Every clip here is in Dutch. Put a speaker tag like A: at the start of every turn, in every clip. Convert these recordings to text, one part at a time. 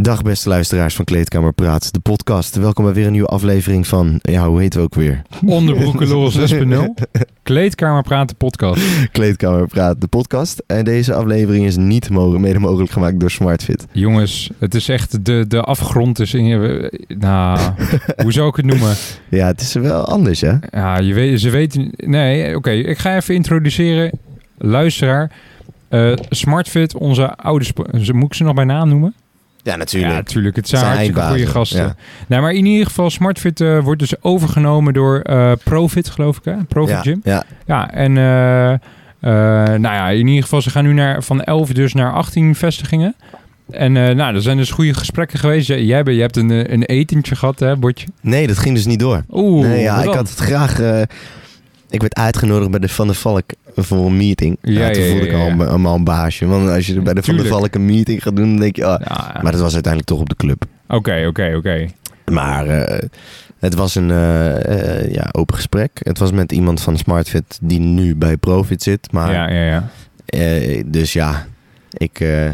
A: Dag beste luisteraars van Kleedkamer Praat, de podcast. Welkom bij weer een nieuwe aflevering van, ja hoe heet we ook weer?
B: Onderbroekenlul 6.0. Kleedkamer praten podcast.
A: Kleedkamer Praat, de podcast. En deze aflevering is niet mogen, mede mogelijk gemaakt door Smartfit.
B: Jongens, het is echt de, de afgrond is in je... Nou, hoe zou ik het noemen?
A: Ja, het is wel anders hè?
B: Ja, je weet, ze weten... Nee, oké. ik ga even introduceren. Luisteraar. eh, Smartfit, onze oude... spo- eh, ze- Moet ik ze nog bij naam noemen?
A: Ja,
B: Ja,
A: natuurlijk.
B: natuurlijk. Het zijn
A: Het zijn
B: hartstikke goede
A: eindbazen,
B: gasten.
A: ja.
B: Nou, maar in ieder geval, Smartfit eh, wordt dus overgenomen door eh, Profit, geloof ik hè? Profit
A: ja,
B: Gym.
A: ja.
B: Ja, en eh, eh, nou ja, in ieder geval, ze gaan nu naar, van 11 dus naar 18 vestigingen. En eh, nou, er zijn dus goede gesprekken geweest. Jij, jij, bent- je hebt een, eh, een etentje gehad, hè, Botje?
A: Nee, dat ging dus niet door.
B: Oeh,
A: nee, ja,
B: wat
A: ik
B: dan?
A: had het graag... eh, ik werd uitgenodigd bij de Van der Valk voor een meeting.
B: Ja,
A: Nou, toen
B: ja, ja,
A: voelde ik
B: ja,
A: al
B: ja.
A: een, een man baasje. Want als je bij de Van der
B: Tuurlijk.
A: Valk een meeting gaat doen, dan denk je... ah.
B: Ja,
A: Maar dat was uiteindelijk toch op de club.
B: Oké, oké, oké.
A: Maar eh, het was een eh, eh, ja, open gesprek. Het was met iemand van SmartFit die nu bij Profit zit. Maar,
B: Ja, ja, ja.
A: eh, dus ja, ik, eh,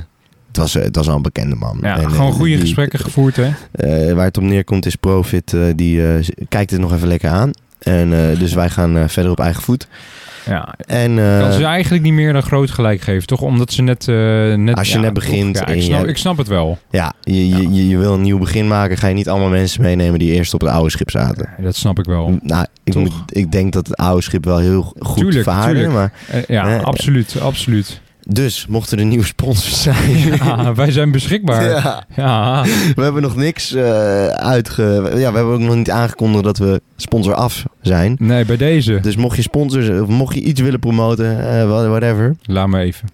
A: het, was, het was al een bekende man.
B: ja
A: En, eh,
B: gewoon goede
A: die-
B: gesprekken gevoerd, hè?
A: eh, waar het om neerkomt is Profit, eh, die eh, kijkt het nog even lekker aan. En, eh, dus wij gaan eh, verder op eigen voet.
B: Ja.
A: En, eh,
B: Kan ze eigenlijk niet meer dan groot gelijk geven, toch? Omdat ze net... eh, net
A: Als je
B: ja,
A: net begint
B: toch, ja,
A: en
B: ik,
A: je
B: snap,
A: hebt-
B: ik snap het wel.
A: ja, je, je, je, je wil een nieuw begin maken. Ga je niet allemaal mensen meenemen die eerst op het oude schip zaten.
B: Dat snap ik wel.
A: Nou, ik,
B: Toch?
A: moet- ik denk dat het oude schip wel heel goed
B: Tuurlijk,
A: vaarde.
B: tuurlijk.
A: Maar
B: Eh, ja,
A: Nee.
B: absoluut, absoluut.
A: Dus, mochten er nieuwe sponsors zijn.
B: Ja, wij zijn beschikbaar.
A: Ja,
B: ja.
A: we hebben nog niks eh uitge... Ja, we hebben ook nog niet aangekondigd dat we sponsor af zijn.
B: Nee, bij deze.
A: Dus mocht je sponsors, of mocht je iets willen promoten, eh, wha- whatever.
B: Laat me even.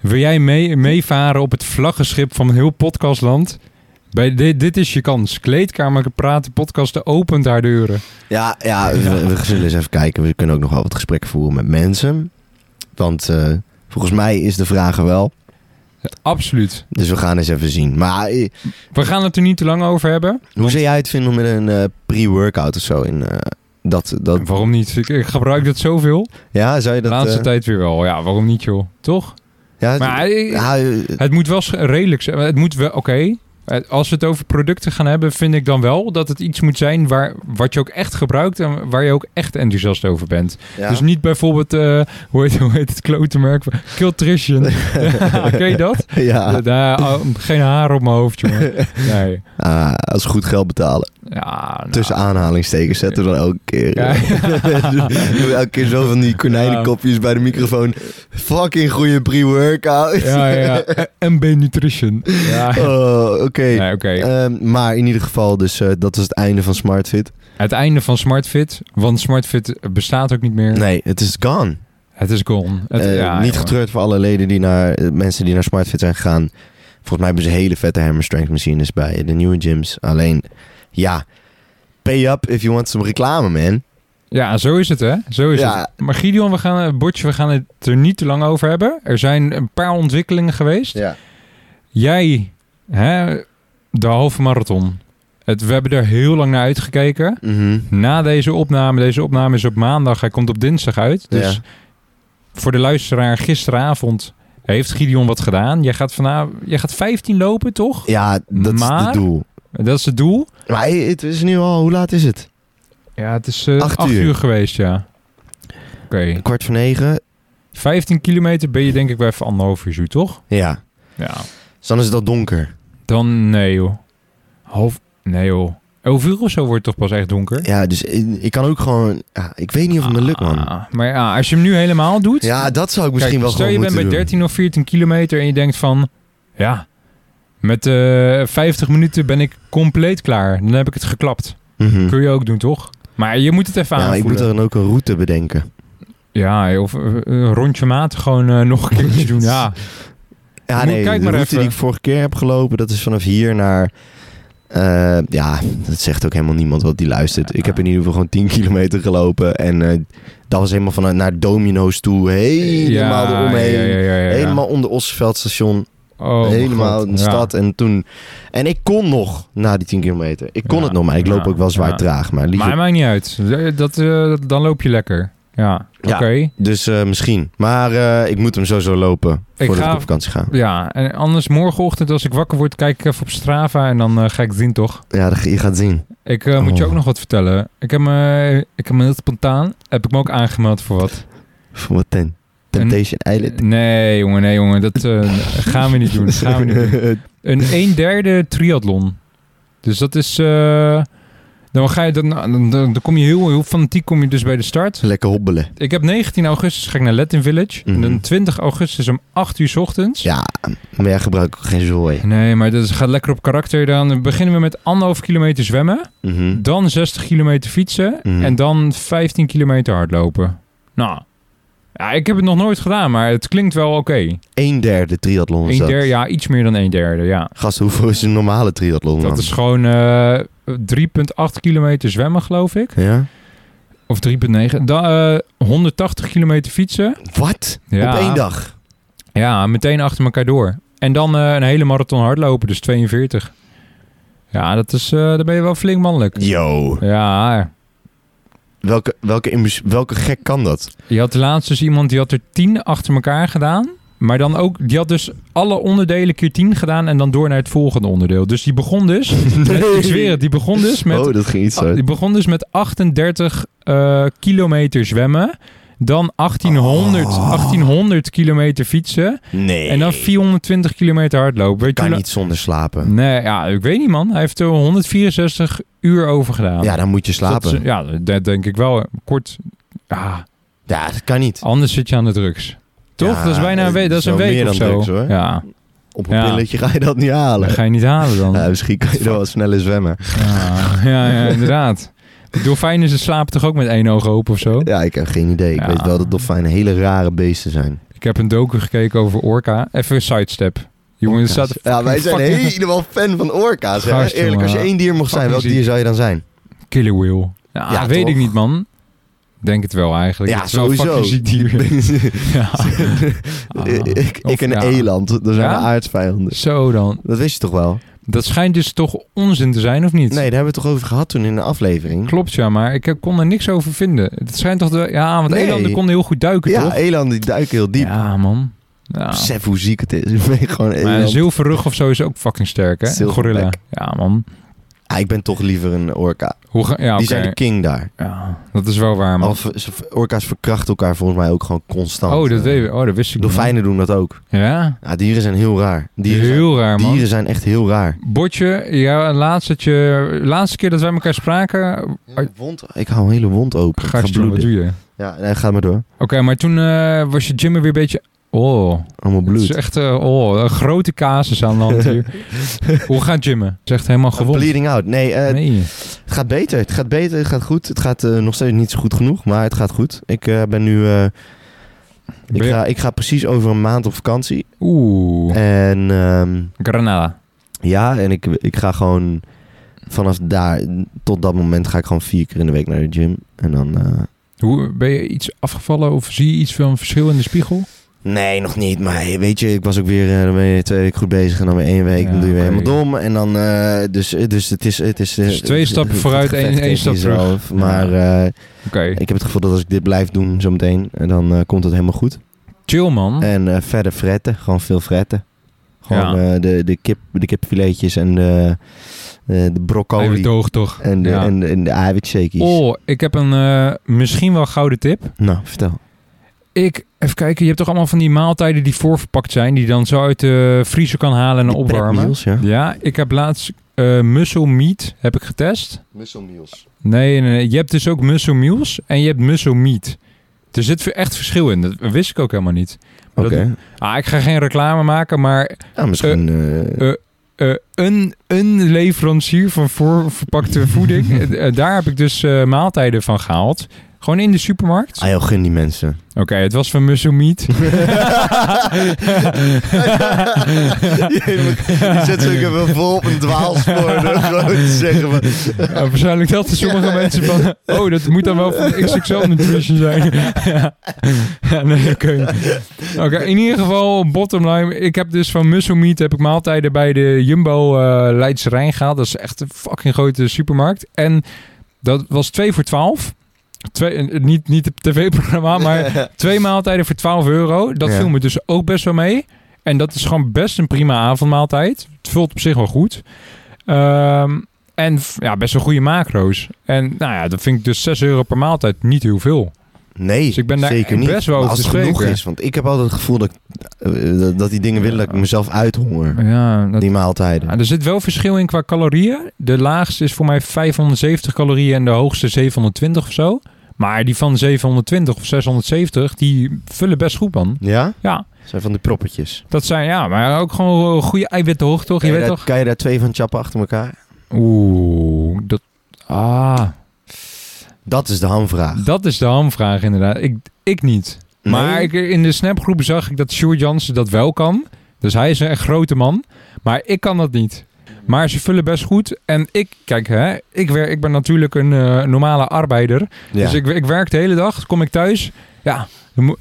B: Wil jij mee, meevaren op het vlaggenschip van heel podcastland? Bij di- dit is je kans. Kleedkamer praten podcasten opent haar deuren.
A: Ja, ja, we, we zullen eens even kijken. We kunnen ook nog wel wat gesprekken voeren met mensen. Want eh, volgens mij is de vraag er wel.
B: Absoluut.
A: Dus we gaan eens even zien. Maar eh,
B: We gaan het er niet te lang over hebben.
A: hoe zou jij het vinden om met een eh, pre-workout of zo in... eh, dat, dat,
B: Waarom niet? Ik, ik gebruik dat zoveel.
A: ja, zou je
B: De
A: dat...
B: laatste
A: eh,
B: tijd weer wel. Ja, waarom niet joh? Toch?
A: ja, het-
B: Maar eh,
A: ja, eh,
B: het moet wel sch- redelijk zijn. Het moet wel... Oké. Eh, Als we het over producten gaan hebben, vind ik dan wel dat het iets moet zijn waar, wat je ook echt gebruikt en waar je ook echt enthousiast over bent.
A: ja.
B: Dus niet bijvoorbeeld, eh, hoe, heet, hoe heet het klote merk? Kiltrition. Ken je dat?
A: ja.
B: Daar, oh, geen haar op mijn hoofd, jongen. Nee.
A: Ah, als we goed geld betalen.
B: Ja, nou.
A: Tussen aanhalingstekens zetten we dan elke keer.
B: Ja.
A: Doen we elke keer zo van die konijnenkopjes bij de microfoon. Fucking goede pre-workout.
B: Ja, ja. MB Nutrition. Ja.
A: Oh, oké.
B: Nee, oké.
A: Ehm, maar in ieder geval, dus eh, dat was het einde van SmartFit.
B: Het einde van SmartFit, want SmartFit bestaat ook niet meer.
A: Nee, het is gone.
B: Het is gone. Het,
A: Eh,
B: ja,
A: niet
B: jongen.
A: getreurd voor alle leden die naar, eh, mensen die naar SmartFit zijn gegaan. Volgens mij hebben ze hele vette hammer strength machines bij de nieuwe gyms. Alleen, ja, pay up if you want some reclame, man.
B: Ja, zo is het, hè? Zo is
A: Ja.
B: het. Maar Gideon, we gaan, eh, Botje, we gaan het er niet te lang over hebben. Er zijn een paar ontwikkelingen geweest.
A: Ja.
B: Jij, hè, de halve marathon. Het, we hebben er heel lang naar uitgekeken.
A: Mhm.
B: Na deze opname, deze opname is op maandag, hij komt op dinsdag uit. Dus
A: Ja.
B: voor de luisteraar, gisteravond heeft Gideon wat gedaan. Jij gaat, vanavond, jij gaat 15 lopen, toch?
A: Ja, dat is
B: Maar-
A: het doel.
B: Dat is het doel.
A: Maar hey, het is nu al, hoe laat is het?
B: Ja, het is eh
A: Acht
B: 8 uur.
A: uur
B: geweest, ja. Oké,
A: Kwart voor negen?
B: 15 kilometer ben je denk ik bij even anderhalf uur, zo, toch?
A: Ja.
B: Ja.
A: Dus dan is het al donker.
B: Dan, nee joh. Half, nee joh. 11 uur of zo wordt het toch pas echt donker?
A: Ja, dus ik, ik kan ook gewoon... ja, ik weet niet of het me lukt, man.
B: Ah, maar ja, als je hem nu helemaal doet...
A: Ja, dat zou ik
B: kijk,
A: misschien wel
B: stel
A: gewoon
B: je bent
A: moeten
B: bij
A: doen.
B: 13 of 14 kilometer en je denkt van... Ja, met eh 50 minuten ben ik compleet klaar. Dan heb ik het geklapt.
A: Mhm.
B: Kun je ook doen, toch? Maar je moet het even
A: Ja, maar ik moet
B: aanvoelen.
A: dan ook een route bedenken.
B: Ja, of eh, een rondje maat gewoon eh, nog een keertje doen. Ja,
A: Ja,
B: Moet-
A: nee,
B: kijk
A: de
B: maar
A: route
B: even.
A: die ik vorige keer heb gelopen, dat is vanaf hier naar... eh, ja, dat zegt ook helemaal niemand wat die luistert. Ik heb in ieder geval gewoon 10 kilometer gelopen. En eh, dat was helemaal vanuit naar Domino's toe. Helemaal
B: ja,
A: eromheen.
B: ja, ja, ja, ja.
A: Helemaal onder Ossenveldstation.
B: Oh, mijn
A: helemaal
B: God.
A: in de
B: Ja.
A: stad. En toen. En ik kon nog na die 10 kilometer. Ik kon
B: Ja,
A: het nog, maar ik loop
B: ja,
A: ook wel zwaar
B: ja.
A: traag. Maar liever.
B: Maar maakt niet uit. Dat, eh, dan loop je lekker. Ja, oké.
A: Ja. Dus eh, misschien. Maar eh, ik moet hem sowieso lopen
B: Ik
A: voordat
B: ga-
A: ik op vakantie ga.
B: Ja, en anders morgenochtend als ik wakker word, kijk ik even op Strava en dan eh, ga ik het zien, toch?
A: Ja, dat, je gaat zien.
B: Ik eh, moet je
A: Oh.
B: ook nog wat vertellen. Ik heb me, ik heb me heel spontaan, heb ik me ook aangemeld voor wat.
A: Voor wat ten? Temptation Island.
B: Nee, jongen, nee, jongen. Dat eh, gaan we niet doen. Dat gaan we niet doen. Een 1 derde triathlon. Dus dat is... eh, dan, ga je, dan, dan, dan dan kom je heel, heel fanatiek kom je dus bij de start.
A: Lekker hobbelen.
B: Ik heb 19 augustus ga ik naar Latin Village. En
A: Mhm.
B: dan 20 augustus om 8 uur 's ochtends.
A: Ja, maar jij gebruikt ook geen zooi.
B: Nee, maar dat gaat lekker op karakter. Dan beginnen we met anderhalf kilometer zwemmen.
A: Mhm.
B: Dan 60 kilometer fietsen.
A: Mhm.
B: En dan 15 kilometer hardlopen. Nou, ja, ik heb het nog nooit gedaan, maar het klinkt wel oké.
A: Een derde triathlon is
B: Een
A: dat.
B: derde, ja, iets meer dan een derde, ja.
A: Gast, hoeveel is een normale triathlon
B: Dat
A: dan?
B: is gewoon eh, 3,8 kilometer zwemmen, geloof ik.
A: Ja?
B: Of 3,9. Dan eh, 180 kilometer fietsen.
A: Wat?
B: Ja.
A: Op één dag?
B: Ja, meteen achter elkaar door. En dan eh, een hele marathon hardlopen, dus 42. Ja, dat is, eh daar ben je wel flink mannelijk.
A: Yo.
B: Ja,
A: Welke, welke, imbus- welke gek kan dat?
B: je had laatst dus iemand die had er 10 achter elkaar gedaan. Maar dan ook, die had dus alle onderdelen keer 10 gedaan en dan door naar het volgende onderdeel. Dus die begon dus, met, ik zweer het, die begon dus met
A: Oh, dat ging iets
B: Ah,
A: uit.
B: Die begon dus met 38 eh, kilometer zwemmen. Dan 1800,
A: Oh.
B: 1800 kilometer fietsen.
A: Nee.
B: En dan 420 kilometer hardlopen. Weet je
A: Kan
B: hoe
A: niet zonder
B: la-
A: slapen.
B: Nee, ja, ik weet niet, man. Hij heeft er 164 uur over gedaan.
A: Ja, dan moet je
B: Dus dat is-
A: slapen.
B: ja, dat denk ik wel. eh, Kort. Ja,
A: Ja, dat kan niet.
B: anders zit je aan de drugs. Toch?
A: Ja, eh,
B: dat is bijna een week, dat is
A: zo
B: een
A: meer
B: week of
A: dan
B: zo.
A: drugs, hoor.
B: Ja,
A: Op een
B: Ja.
A: pilletje ga je dat niet halen.
B: dat ga je niet halen dan.
A: Ja, misschien kan je wel wat sneller zwemmen.
B: Ja, ja, ja, inderdaad. De dolfijnen ze slapen toch ook met één oog open of zo?
A: Ja, ik heb geen idee. Ik
B: Ja.
A: weet wel dat dolfijnen hele rare beesten zijn.
B: Ik heb een docu gekeken over Orca. Even een sidestep. Jongen, er staat
A: Ja, wij zijn
B: fucking-
A: helemaal fan van orka's. hè.
B: Gast,
A: Eerlijk,
B: jongen.
A: als je één dier mocht zijn,
B: Fucking
A: welk
B: ziek.
A: dier zou je dan zijn?
B: Killer Whale. Ja,
A: Ja,
B: weet
A: toch?
B: ik niet, man. Denk het wel eigenlijk.
A: Ja,
B: Het is wel
A: sowieso.
B: een fucking ziek dier. ja. Ah.
A: ik,
B: Of
A: ik en
B: ja.
A: eland, dat zijn
B: Ja?
A: de aardsvijanden.
B: Zo dan.
A: Dat wist je toch wel?
B: Dat schijnt dus toch onzin te zijn, of niet?
A: Nee, daar hebben we het toch over gehad toen in de aflevering?
B: Klopt, ja, maar ik heb- kon er niks over vinden. Het schijnt toch... De, ja, want
A: Nee.
B: elanden konden heel goed duiken,
A: Ja,
B: toch?
A: elanden die duiken heel diep.
B: Ja, man. Ja.
A: Besef hoe ziek het is. Ik ben gewoon een
B: Maar een
A: eland.
B: zilverrug of zo is ook fucking sterk, hè? Een
A: Zilverback.
B: gorilla. Ja, man.
A: Ah, ik ben toch liever een orka.
B: Hoe ga, ja,
A: Die
B: oké.
A: zijn de king daar.
B: ja, dat is wel waar, man.
A: Of, ze- orka's verkrachten elkaar volgens mij ook gewoon constant.
B: oh, dat
A: Eh,
B: weet ik. Oh, dat wist ik niet.
A: Dolfijnen doen dat ook.
B: Ja,
A: Ja, dieren zijn heel raar. Dieren, zijn-
B: heel raar, man.
A: dieren zijn echt heel raar.
B: Botje, ja, laatst dat je, laatste keer dat wij elkaar spraken, Ai.
A: Wond, ik hou een hele wond open. Ik ga
B: gast, jongen, wat
A: bloeden.
B: doe je? Oké,
A: Ja, nee, ga maar door.
B: maar toen eh, was je gym er weer een beetje... Oh,
A: Allemaal
B: het is
A: bloed.
B: echt eh, oh, een grote casus aan de hand hier. Hoe gaat gymmen? Het is echt helemaal gewond.
A: Bleeding out. Nee, eh,
B: nee.
A: het gaat beter. Het gaat beter. Het gaat goed. Het gaat eh, nog steeds niet zo goed genoeg, maar het gaat goed. Ik eh, ben nu... eh, ik,
B: Ben je-
A: ga, ik ga precies over een maand op vakantie.
B: Oeh,
A: En ehm,
B: Granada.
A: ja, en ik, ik ga gewoon... Vanaf daar tot dat moment ga ik gewoon vier keer in de week naar de gym. En dan... eh,
B: Hoe, ben je iets afgevallen of zie je iets van verschil in de spiegel?
A: Nee, nog niet. Maar weet je, ik was ook weer eh, dan ben je twee weken goed bezig en dan weer één week.
B: Ja,
A: dan doe je weer
B: oké.
A: helemaal dom. En dan, eh, dus, dus het is... Het is eh,
B: Dus twee stappen
A: het
B: vooruit,
A: gevecht
B: één- één
A: tegen
B: stap terug.
A: jezelf. Maar eh,
B: Oké,
A: ik heb het gevoel dat als ik dit blijf doen zometeen, eh, dan eh, komt het helemaal goed.
B: chill man.
A: En eh, verder fretten, gewoon veel fretten. Gewoon eh, de, de, kip, de kipfiletjes en de, eh, de, de
B: Even
A: broccoli
B: doog toch.
A: en de,
B: Ja.
A: en, en de eiwitshakies.
B: Oh, ik heb een eh, misschien wel gouden tip.
A: Nou, vertel.
B: Ik, even kijken, je hebt toch allemaal van die maaltijden die voorverpakt zijn, die je dan zo uit de vriezer kan halen en
A: Die
B: opwarmen.
A: prepmeals, ja.
B: Ja, ik heb laatst eh muscle meat heb ik getest.
A: Musselmeals.
B: Nee, nee, nee, je hebt dus ook muscle meals en je hebt muscle meat. Er zit echt verschil in, dat wist ik ook helemaal niet.
A: Oké.
B: Ah, ik ga geen reclame maken, maar
A: Nou, misschien... eh,
B: eh, een, een leverancier van voorverpakte voeding, eh, eh, daar heb ik dus eh, maaltijden van gehaald. Gewoon in de supermarkt.
A: Ah joh, gun die mensen.
B: Oké, het was van muscle meat.
A: Je zet ze ook even vol op een dwaalspoor door gewoon te zeggen van...
B: Ja, waarschijnlijk dat er sommige mensen van... Oh, dat moet dan wel van XXL Nutrition zijn. ja. Ja, nee, oké. Oké, in ieder geval, bottom line. Ik heb dus van Muscle Meat heb ik maaltijden bij de Jumbo eh Leidse Rijn gehaald. Dat is echt een fucking grote supermarkt. En dat was 2 voor 12. Twee, eh, niet, niet het tv-programma, Ah, maar twee maaltijden voor 12 euro. Dat
A: Ja.
B: viel me dus ook best wel mee. En dat is gewoon best een prima avondmaaltijd. Het vult op zich wel goed. Ehm, en f- ja, best wel goede macro's. En nou ja, dat vind ik dus 6 euro per maaltijd niet heel veel.
A: Nee,
B: Dus ik ben daar
A: zeker niet.
B: best wel
A: Maar
B: over
A: als het
B: te
A: genoeg
B: spreken.
A: is, want ik heb altijd het gevoel dat, ik, eh, dat- dat die dingen willen dat ik mezelf uithonger.
B: Ja, dat,
A: Die maaltijden.
B: Ja, Nou, er zit wel verschil in qua calorieën. De laagste is voor mij 570 calorieën en de hoogste 720 of zo. Maar die van 720 of 670, die vullen best goed, man.
A: Ja?
B: Ja,
A: Zijn van die proppetjes.
B: dat zijn ja, maar ook gewoon eh, goede eiwittenhoogte, toch?
A: Kan
B: Je
A: je,
B: weet
A: daar,
B: toch?
A: kan je daar twee van chappen achter elkaar?
B: Oeh, dat... Ah,
A: Dat is de hamvraag.
B: dat is de hamvraag inderdaad. Ik, ik niet. Maar
A: Nee?
B: ik, in de snapgroep zag ik dat Sjoerd Jansen dat wel kan. Dus hij is een echt grote man. Maar ik kan dat niet. Maar ze vullen best goed. En ik, kijk hè, ik, wer, ik ben natuurlijk een eh, normale arbeider.
A: Ja.
B: Dus ik, ik werk de hele dag, kom ik thuis. Ja, dan mo-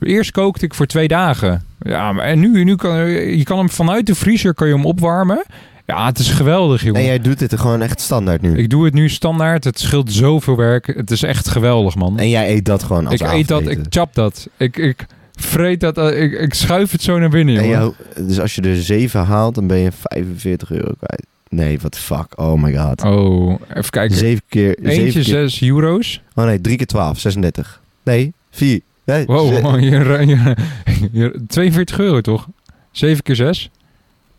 B: eerst kookte ik voor twee dagen. Ja, maar- en nu, nu kan je kan hem vanuit de vriezer kan je hem opwarmen. Ja, het is geweldig, jongen.
A: En jij doet dit er gewoon echt standaard nu.
B: Ik doe het nu standaard. Het scheelt zoveel werk. Het is echt geweldig, man.
A: En jij eet dat gewoon als
B: ik eet dat, ik chap dat. Ik, ik vreet dat, eh, ik, ik schuif het zo naar binnen,
A: En
B: jongen.
A: jou- dus als je er 7 haalt, dan ben je 45 euro kwijt. Nee, wat fuck. Oh my god.
B: Oh, even kijken.
A: 7 keer.
B: Eentje
A: zeven keer.
B: 6 euro's.
A: Oh nee, 3 keer 12, 36. Nee, 4. Nee,
B: Wow,
A: ze-
B: man, je, je, je- 42 euro toch? 7 keer 6?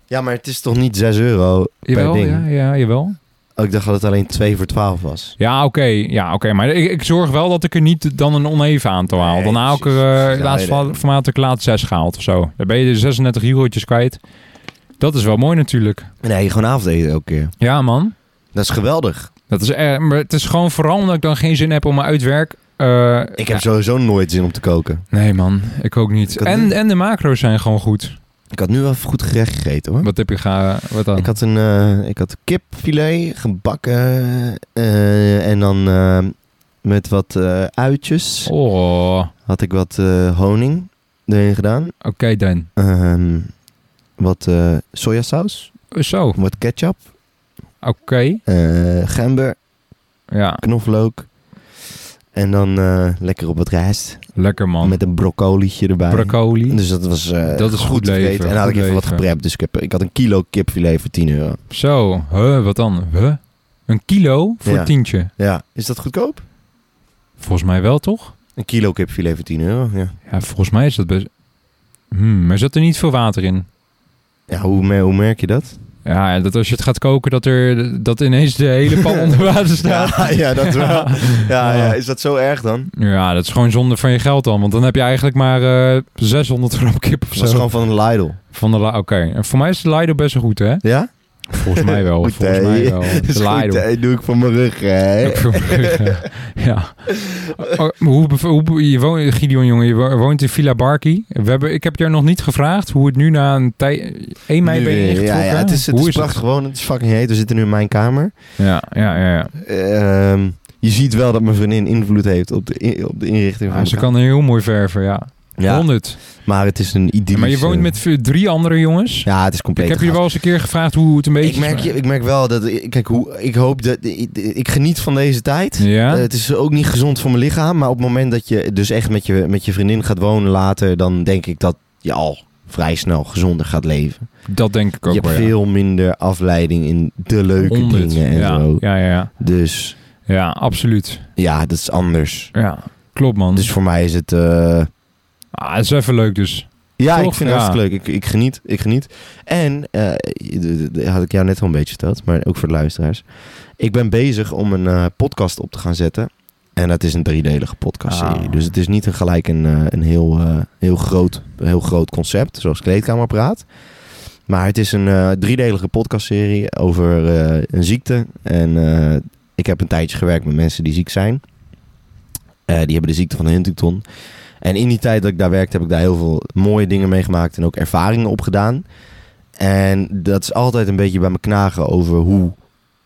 A: Ja, maar het is toch niet 6 euro
B: Jawel,
A: per ding?
B: ja, ja, jawel.
A: Oh, ik dacht dat het alleen 2 voor 12 was.
B: Ja, oké. Ja, oké. Maar ik, ik zorg wel dat ik er niet dan een oneven aantal haal.
A: Nee,
B: dan haal ik er
A: precies.
B: eh,
A: Ja,
B: laatst
A: nee, nee.
B: va- formaat heb ik laatst 6 gehaald of zo. Dan ben je de 36 eurotjes kwijt. Dat is wel mooi natuurlijk.
A: Nee, gewoon avondeten elke keer.
B: Ja, man.
A: Dat is geweldig.
B: Dat is er, maar het is gewoon vooral omdat ik dan geen zin heb om mijn uitwerk. eh,
A: Ik heb
B: ja.
A: sowieso nooit zin om te koken.
B: Nee, man. Ik ook niet.
A: Ik had
B: En,
A: nu-
B: en de macro's zijn gewoon goed.
A: Ik had nu wel even goed gerecht gegeten hoor.
B: Wat heb je ga, Wat dan?
A: Ik had een eh, ik had kipfilet gebakken eh, en dan eh, met wat eh, uitjes
B: Oh, oké
A: had ik wat eh, honing erin gedaan.
B: dan.
A: Ehm, wat eh, sojasaus,
B: Zo, oké.
A: wat ketchup, eh gember,
B: Ja,
A: knoflook. En dan eh, lekker op wat rijst
B: lekker man.
A: met een broccolietje erbij.
B: Broccoli.
A: dus dat was eh,
B: Dat is goed
A: te
B: leven,
A: eten. En dan had ik
B: goed
A: even wat
B: leven.
A: geprept. Dus ik, heb, ik had een kilo kipfilet voor 10 euro.
B: Zo, huh, wat dan? Huh? Een kilo voor
A: Ja.
B: tientje.
A: Ja, is dat goedkoop?
B: Volgens mij wel, toch?
A: Een kilo kipfilet voor 10 euro, ja.
B: Ja, volgens mij is dat best... Hmm, maar zat er niet veel water in?
A: Ja, hoe, mer- hoe merk je dat?
B: Ja, dat als je het gaat koken, dat, er, dat ineens de hele pan onder water staat.
A: Ja, ja, dat wel. Ja, ja, is dat zo erg dan?
B: Ja, dat is gewoon zonde van je geld dan. Want dan heb je eigenlijk maar eh, 600 gram kip of
A: Dat
B: zo.
A: was gewoon van een Lidl.
B: Van de La- Oké, en voor mij is de Lido best wel goed, hè?
A: Ja?
B: Volgens mij wel.
A: Goed,
B: Oh, volgens
A: hè?
B: mij wel.
A: Dat is
B: De
A: goed,
B: Lido.
A: hè? doe ik voor mijn rug, hè?
B: Ook voor Brugge. ja. Oh, hoe, bev- hoe, be- je woont, Gideon, jongen, je wo- woont in Villa Barki. We hebben, ik heb jou nog niet gevraagd hoe het nu na een tijd... 1 mei
A: Nu
B: ben je
A: weer.
B: ingetrokken.
A: ja, ja, het is, het
B: hoe
A: is prachtig gewoon. Het is fucking heet. We zitten nu in mijn kamer.
B: Ja, ja, ja. ja.
A: Ehm, je ziet wel dat mijn vriendin invloed heeft op de, in- op de inrichting van
B: Ah,
A: de
B: ze
A: kamer.
B: kan heel mooi verven, ja.
A: Ja,
B: 100.
A: maar het is een idyllische...
B: maar je woont met v- drie andere jongens.
A: Ja, het is compleet
B: ik heb
A: een
B: je wel eens een keer gevraagd hoe het een beetje...
A: ik merk, je, ik merk wel dat... ik- Kijk, hoe, ik hoop dat... Ik, ik geniet van deze tijd.
B: Ja?
A: Eh, het is ook niet gezond voor mijn lichaam. Maar op het moment dat je dus echt met je, met je vriendin gaat wonen later... dan denk ik dat je al vrij snel gezonder gaat leven.
B: dat denk ik
A: je
B: ook
A: hebt
B: wel, ja.
A: veel minder afleiding in de leuke
B: 100.
A: dingen en
B: ja.
A: zo.
B: Ja, ja, ja.
A: Dus
B: Ja, absoluut.
A: ja, dat is anders.
B: Ja, klopt man.
A: Dus voor mij is het... eh,
B: ah, het is even leuk dus.
A: Ja,
B: Toch?
A: ik vind
B: Ja.
A: het hartstikke leuk. Ik, ik geniet, ik geniet. En, eh, d- d- d- had ik jou net al een beetje verteld, maar ook voor de luisteraars. Ik ben bezig om een eh, podcast op te gaan zetten. En dat is een driedelige podcastserie.
B: Ah.
A: Dus het is niet een, gelijk een, eh, een heel, eh, heel, groot, heel groot concept, zoals Kleedkamerpraat. Maar het is een eh, driedelige podcastserie over eh, een ziekte. En eh, ik heb een tijdje gewerkt met mensen die ziek zijn. Eh, die hebben de ziekte van Huntington. En in die tijd dat ik daar werkte, heb ik daar heel veel mooie dingen meegemaakt en ook ervaringen opgedaan. En dat is altijd een beetje bij me knagen over hoe,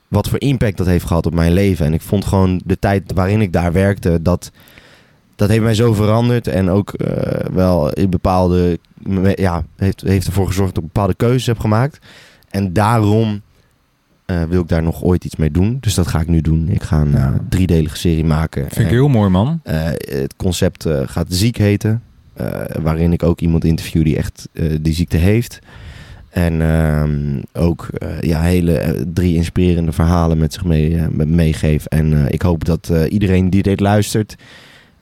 A: wat voor impact dat heeft gehad op mijn leven. En ik vond gewoon de tijd waarin ik daar werkte, dat, dat heeft mij zo veranderd. En ook eh, wel in bepaalde, ja, heeft, heeft ervoor gezorgd dat ik bepaalde keuzes heb gemaakt. En daarom eh, wil ik daar nog ooit iets mee doen. Dus dat ga ik nu doen. Ik ga een eh,
B: Ja.
A: driedelige serie maken.
B: Vind ik
A: En,
B: heel mooi, man.
A: eh, het concept eh, gaat Ziek heten. eh, waarin ik ook iemand interview die echt eh, die ziekte heeft. En ehm, ook eh, ja, hele eh, drie inspirerende verhalen met zich mee, eh, me- meegeef. En eh, ik hoop dat eh, iedereen die dit luistert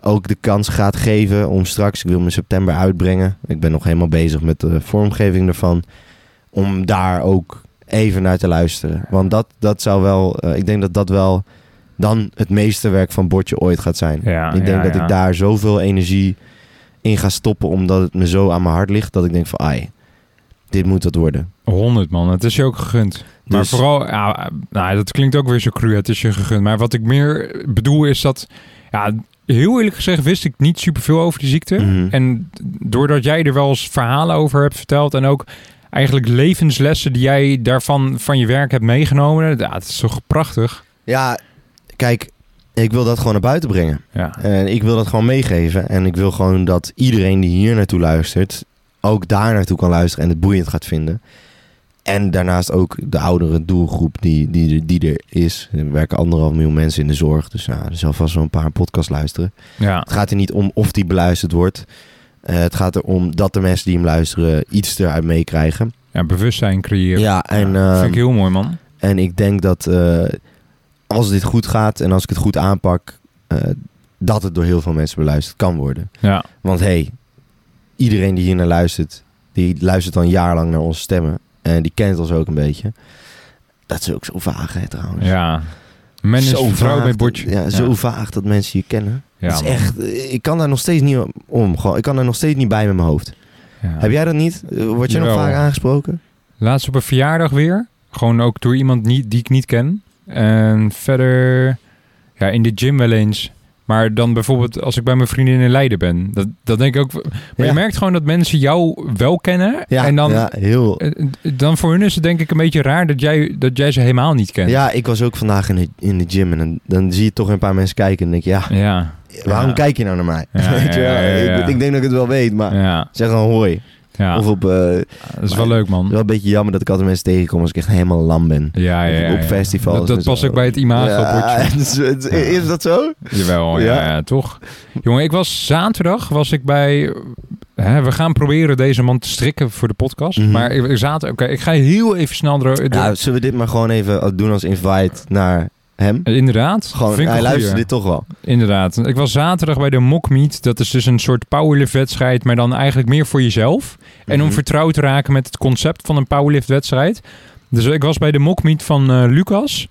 A: ook de kans gaat geven om straks, ik wil hem in september uitbrengen. Ik ben nog helemaal bezig met de vormgeving daarvan. Om daar ook even naar te luisteren. Want dat, dat zou wel, eh, ik denk dat dat wel dan het meesterwerk van Bordje ooit gaat zijn.
B: Ja,
A: ik denk
B: ja,
A: dat
B: ja.
A: ik daar zoveel energie in ga stoppen, omdat het me zo aan mijn hart ligt, dat ik denk van, ai, dit moet dat worden.
B: 100 man, het is je ook gegund. Maar
A: Dus-
B: vooral, ja, nou, dat klinkt ook weer zo cru, het is je gegund. Maar wat ik meer bedoel is dat, ja, heel eerlijk gezegd wist ik niet superveel over die ziekte.
A: Mhm.
B: En doordat jij er wel eens verhalen over hebt verteld en ook eigenlijk levenslessen die jij daarvan van je werk hebt meegenomen, ja, het is toch prachtig.
A: Ja, kijk, ik wil dat gewoon naar buiten brengen.
B: Ja,
A: En ik wil dat gewoon meegeven. En ik wil gewoon dat iedereen die hier naartoe luistert, ook daar naartoe kan luisteren en het boeiend gaat vinden. En daarnaast ook de oudere doelgroep die, die, die er is. Er werken anderhalf miljoen mensen in de zorg. Dus nou, er zal vast wel een paar podcasts luisteren.
B: ja,
A: Het gaat er niet om of die beluisterd wordt. Eh, het gaat erom dat de mensen die hem luisteren iets eruit meekrijgen.
B: ja bewustzijn creëren.
A: Ja, en,
B: Ja,
A: ehm,
B: vind ik heel mooi, man.
A: en ik denk dat eh, als dit goed gaat en als ik het goed aanpak, eh, dat het door heel veel mensen beluisterd kan worden.
B: Ja,
A: Want hey, iedereen die hier naar luistert, die luistert al een jaar lang naar onze stemmen. En die kent ons ook een beetje. Dat is ook zo vaag, hè, trouwens.
B: ja. Men is
A: Zo
B: vrouw
A: vaag
B: bij
A: dat-
B: bordje.
A: Ja, zo vaag dat mensen je kennen.
B: Ja,
A: dat is
B: man.
A: echt, ik kan daar nog steeds niet om. Gewoon, ik kan daar nog steeds niet bij met mijn hoofd.
B: Ja.
A: Heb jij dat niet? Eh, Word je nog
B: Jawel.
A: vaak aangesproken?
B: Laatst op een verjaardag weer. Gewoon ook door iemand niet, die ik niet ken. En verder ja, in de gym wel eens. Maar dan bijvoorbeeld als ik bij mijn vriendin in Leiden ben. Dat, dat denk ik ook. Maar
A: Ja.
B: je merkt gewoon dat mensen jou wel kennen.
A: Ja,
B: en dan,
A: ja, heel.
B: eh, dan voor hun is het denk ik een beetje raar dat jij, dat jij ze helemaal niet kent.
A: Ja, ik was ook vandaag in de, in de gym en dan, dan zie je toch een paar mensen kijken en denk je, ja,
B: Ja.
A: waarom
B: Ja.
A: kijk je nou naar mij?
B: Ja,
A: Weet je wel?
B: ja, ja, ja, ja.
A: Ik, ik denk dat ik het wel weet, maar
B: Ja.
A: zeg dan hoi.
B: ja.
A: Of op, eh,
B: dat is wel leuk, man.
A: wel een beetje jammer dat ik altijd mensen tegenkom als ik echt helemaal lam ben.
B: Ja, ja, ja,
A: Op
B: ja.
A: festivals
B: Dat,
A: en
B: dat
A: zo.
B: past ook bij het imago.
A: Ja,
B: bordje.
A: het is- het- Is dat zo?
B: Jawel, ja,
A: Ja.
B: ja, toch. Jongen, ik was zaterdag was ik bij. Hè, we gaan proberen deze man te strikken voor de podcast.
A: Mhm.
B: Maar ik, ik zaten. Oké, ik ga heel even snel door. door-
A: Ja, zullen we dit maar gewoon even eh, doen als invite naar hem?
B: Inderdaad.
A: Gewoon,
B: vind ik
A: hij
B: een goeie.
A: luistert dit toch wel.
B: Inderdaad. Ik was zaterdag bij de Mock Meet. Dat is dus een soort powerlift wedstrijd, maar dan eigenlijk meer voor jezelf. En om
A: Mhm.
B: vertrouwd te raken met het concept van een powerlift wedstrijd. Dus ik was bij de Mock Meet van eh, Lucas.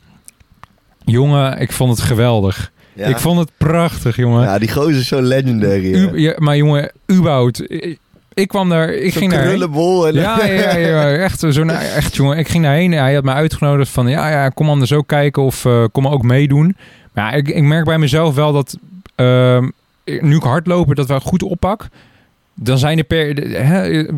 B: Jongen, ik vond het geweldig.
A: Ja.
B: Ik vond het prachtig, jongen.
A: ja, die gozer is zo legendary. eh. hè.
B: U- ja, maar jongen, überhaupt. Ik, ik kwam daar, ik
A: Zo'n
B: ging daarheen.
A: krullenbol. En
B: Ja, ja, ja, echt, zo'n, echt jongen. Ik ging daarheen en hij had me uitgenodigd van... ja, ja kom anders ook kijken of eh, kom ook meedoen. Maar ja, ik, ik merk bij mezelf wel dat... ehm, nu ik hardlopen, dat wel goed oppak. Dan zijn er per... de- hè, eh,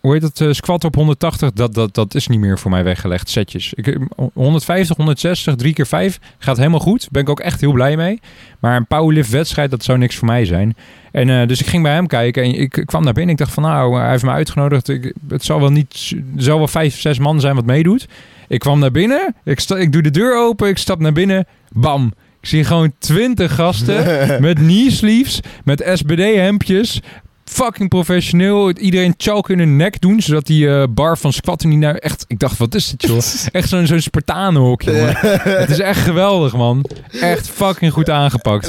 B: hoe heet dat? eh, squat op 180, dat, dat, dat is niet meer voor mij weggelegd, setjes. Ik, eh, 150, 160, 3 keer 5 gaat helemaal goed. Ben ik ook echt heel blij mee. Maar een powerlift wedstrijd, dat zou niks voor mij zijn. En eh, dus ik ging bij hem kijken en ik, ik kwam naar binnen. Ik dacht van nou, hij heeft me uitgenodigd. Ik, het zal wel niet, er zal wel vijf, zes man zijn wat meedoet. Ik kwam naar binnen, ik, sta, ik doe de deur open, ik stap naar binnen. Bam! Ik zie gewoon twintig gasten met knee sleeves, met SBD-hemdjes. Fucking professioneel. Iedereen chalk in hun nek doen, zodat die eh, bar van squatten niet naar... Echt, ik dacht, wat is dit, joh? Echt zo'n zo'n Spartanenhok, jongen. Het is echt geweldig, man. Echt fucking goed aangepakt.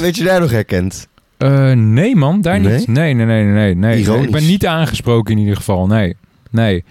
A: Weet je daar nog herkend?
B: Eh, nee, man, daar
A: Nee?
B: niet. Nee, nee, nee, nee, nee. nee.
A: Ironisch.
B: Ik ben niet aangesproken in ieder geval. Nee, nee.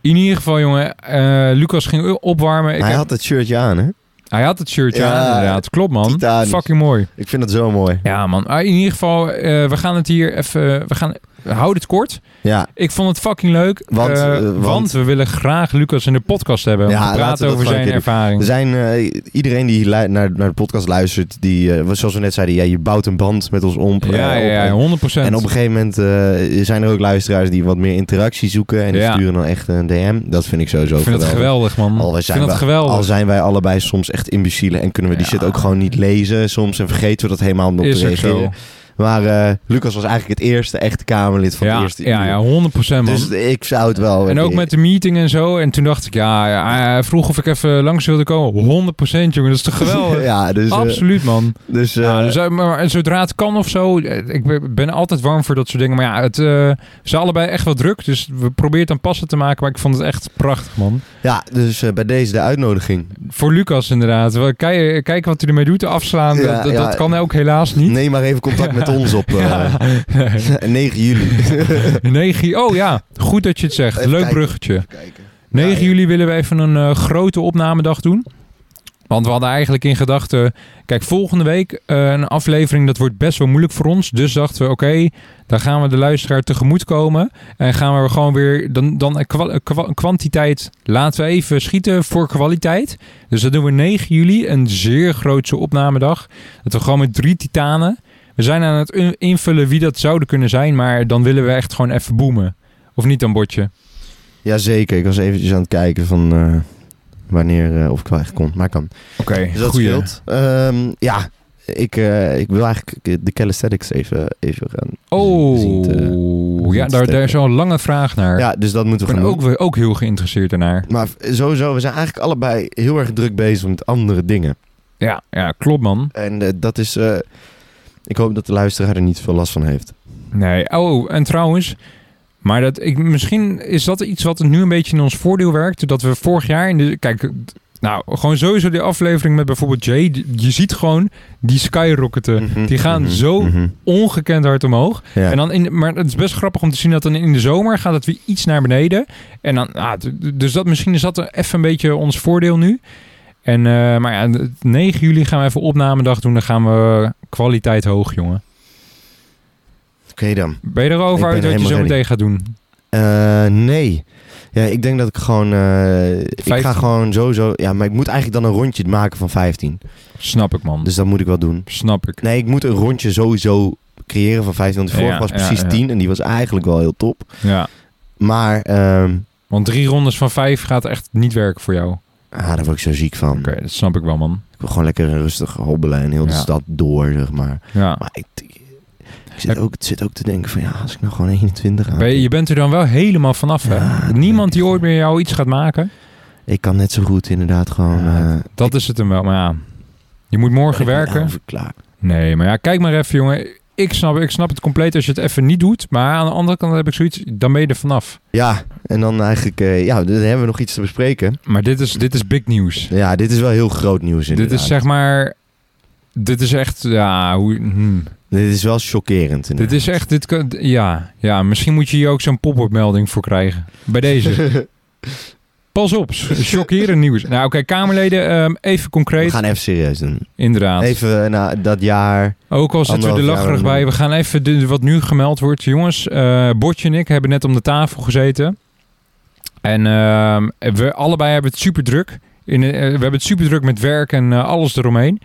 B: In ieder geval, jongen, eh, Lucas ging u- opwarmen. Ik
A: Hij
B: heb-
A: had dat shirtje aan, hè?
B: hij had het shirtje
A: Ja,
B: aan, inderdaad. Klopt, man.
A: titanisch.
B: Fucking mooi.
A: Ik vind dat zo mooi.
B: Ja, man. Ah, in ieder geval, eh, we gaan het hier even... we gaan... Houd het kort.
A: Ja,
B: Ik vond het fucking leuk.
A: Want,
B: eh,
A: eh, want-
B: want we willen graag Lucas in de podcast hebben. om
A: Ja, laten
B: te
A: we
B: praten
A: dat
B: over
A: gewoon
B: zijn
A: een
B: ervaring.
A: er zijn, eh, iedereen die lu- naar, naar de podcast luistert, die, eh, zoals we net zeiden, ja, je bouwt een band met ons om. eh,
B: Ja,
A: op.
B: ja, ja, 100 procent.
A: en op een gegeven moment eh, zijn er ook luisteraars die wat meer interactie zoeken. En die
B: Ja.
A: sturen dan echt een DM. Dat vind ik sowieso
B: Ik vind het geweldig, man.
A: Al, wij
B: ik
A: zijn
B: vind het
A: wel-
B: geweldig.
A: Al zijn wij allebei soms echt imbecielen en kunnen we die
B: Oh. Ja.
A: shit ook gewoon niet lezen soms. En vergeten we dat helemaal om op E te
B: is ook
A: reageren.
B: zo.
A: Maar eh, Lucas was eigenlijk het eerste echte Kamerlid van het
B: Ja,
A: eerste
B: ja,
A: uur.
B: ja, 100% man.
A: Dus ik zou het wel...
B: en ook met de meeting en zo. En toen dacht ik, ja, ja, hij vroeg of ik even langs wilde komen. 100% jongen, dat is toch geweldig?
A: ja, dus... eh,
B: Absoluut man.
A: dus, eh,
B: Ja, dus, eh, maar zodra het kan of zo, eh, ik ben- ben altijd warm voor dat soort dingen. Maar ja, het, eh, ze zijn allebei echt wel druk, dus we proberen het aan passen te maken. Maar ik vond het echt prachtig, man.
A: ja, dus eh, bij deze de uitnodiging.
B: Voor Lucas inderdaad. Wel, Kijk, kijk wat hij ermee doet, afslaan,
A: Ja,
B: dat, dat,
A: ja.
B: dat kan ook helaas niet.
A: Neem maar even contact met ons op eh,
B: Ja.
A: 9 juli.
B: Nee, Guy- oh ja, goed dat je het zegt.
A: Even
B: Leuk
A: kijken.
B: bruggetje.
A: Kijken.
B: 9
A: Ja, ja.
B: juli willen we even een eh, grote opnamedag doen. Want we hadden eigenlijk in gedachten... Kijk, volgende week eh, een aflevering, dat wordt best wel moeilijk voor ons. Dus dachten we, oké, dan gaan we de luisteraar tegemoetkomen. En gaan we gewoon weer... Dan, dan eh, kwa- eh, kwa- kwantiteit laten we even schieten voor kwaliteit. Dus dat doen we 9 juli, een zeer grootse opnamedag. Dat we gewoon met drie titanen... We zijn aan het in- invullen wie dat zouden kunnen zijn. Maar dan willen we echt gewoon even boemen. Of niet dan, Botje?
A: Jazeker, ik was eventjes aan het kijken van eh, wanneer eh, of ik wel echt kon. Maar kan.
B: Oké,
A: Dus dat scheelt. Ehm, ja, ik, eh, ik wil eigenlijk de calisthenics even, even gaan zien
B: Oh,
A: te-
B: ja, daar, daar is al een lange vraag naar.
A: ja, dus dat moeten
B: ik
A: we
B: ben
A: gaan
B: ook,
A: doen.
B: weer- ook heel geïnteresseerd daarnaar.
A: Maar sowieso, we zijn eigenlijk allebei heel erg druk bezig met andere dingen.
B: Ja, ja, klopt man.
A: En eh, dat is... eh, ik hoop dat de luisteraar er niet veel last van heeft.
B: Nee, oh, en trouwens... Maar dat, ik, misschien is dat iets wat nu een beetje in ons voordeel werkt. Dat we vorig jaar in de... Kijk, nou, gewoon sowieso die aflevering met bijvoorbeeld Jay. die- Je ziet gewoon die skyrocketten.
A: Mhm,
B: Eh, Die gaan
A: mhm,
B: zo
A: mhm.
B: Ongekend hard omhoog.
A: Ja.
B: En dan in, maar het is best grappig om te zien dat dan in de zomer gaat het weer iets naar beneden. En dan, ah, d- d- dus dat, misschien is dat er even een beetje ons voordeel nu. En, eh, maar ja, d- 9 juli gaan we even opnamedag doen. Dan gaan we kwaliteit hoog, jongen.
A: Oké dan.
B: Ben je
A: Ik
B: erover
A: ben
B: uit dat je
A: helemaal
B: zo
A: ready.
B: meteen gaat doen?
A: Eh, nee. Ja, ik denk dat ik gewoon... eh, ik ga
B: 15.
A: gewoon sowieso... Ja, maar ik moet eigenlijk dan een rondje maken van 15.
B: Snap ik, man.
A: Dus dat moet ik wel doen.
B: Snap ik.
A: Nee, ik moet een rondje sowieso creëren van 15. Want die
B: Ja,
A: vorige was
B: ja,
A: precies
B: ja.
A: 10 en die was eigenlijk wel heel top.
B: Ja.
A: Maar, ehm
B: Want drie rondes van vijf gaat echt niet werken voor jou. Oké,
A: ah, daar word ik zo ziek van.
B: dat snap ik wel, man.
A: Ik wil gewoon lekker rustig hobbelen en heel de
B: Ja.
A: stad door, zeg maar.
B: Ja.
A: Maar ik, ik, zit ook, ik zit ook te denken van ja, als ik nou gewoon 21 aan...
B: Ben je, je bent er dan wel helemaal vanaf, hè?
A: Ja, dat denk
B: Niemand die
A: ik.
B: ooit meer jou iets gaat maken.
A: Ik kan net zo goed inderdaad gewoon...
B: Ja,
A: eh,
B: Dat is het hem wel, maar ja. Je moet morgen
A: ik ben
B: werken.
A: daarover klaar.
B: Nee, maar ja, kijk maar even, jongen. Ik snap, ik snap het compleet als je het even niet doet. Maar aan de andere kant heb ik zoiets, dan ben je er vanaf.
A: Ja, en dan eigenlijk... eh, ja, dan hebben we nog iets te bespreken.
B: Maar dit is, dit is big nieuws.
A: Ja, dit is wel heel groot nieuws inderdaad.
B: Dit is zeg maar... Dit is echt, ja, hoe, hmm.
A: Dit is wel chockerend
B: dit is echt, dit kan, ja, ja, misschien moet je hier ook zo'n pop-up melding voor krijgen. Bij deze. Pas op, chockerend nieuws. Nou, oké, Kamerleden, ehm, even
A: We
B: concreet,
A: gaan even serieus doen.
B: inderdaad.
A: Even eh, na dat jaar.
B: Ook al zitten we er
A: Anderhalf jaar
B: lacherig
A: en-
B: bij. We gaan even de, wat nu gemeld wordt. Jongens, eh, Botje en ik hebben net om de tafel gezeten. En ehm, we allebei hebben het super druk. In, eh, we hebben het super druk met werk en eh, alles eromheen.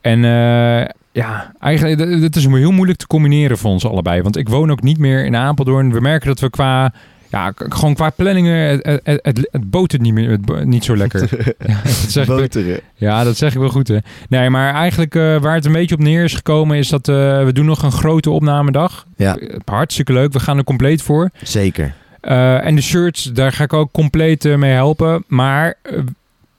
B: En eh, ja, eigenlijk d- dit is heel moeilijk te combineren voor ons allebei. Want ik woon ook niet meer in Apeldoorn. We merken dat we qua, ja, k- gewoon qua planningen, het, het, het, het botert niet, meer, het bo- niet zo lekker. ja, dat zeg ik,
A: Boteren.
B: ja, dat zeg ik wel goed, hè. Nee, maar eigenlijk eh, waar het een beetje op neer is gekomen... is dat eh, we doen nog een grote opnamedag.
A: Ja.
B: Eh, Hartstikke leuk. We gaan er compleet voor.
A: Zeker.
B: Eh, en de shirts, daar ga ik ook compleet eh, mee helpen. Maar eh,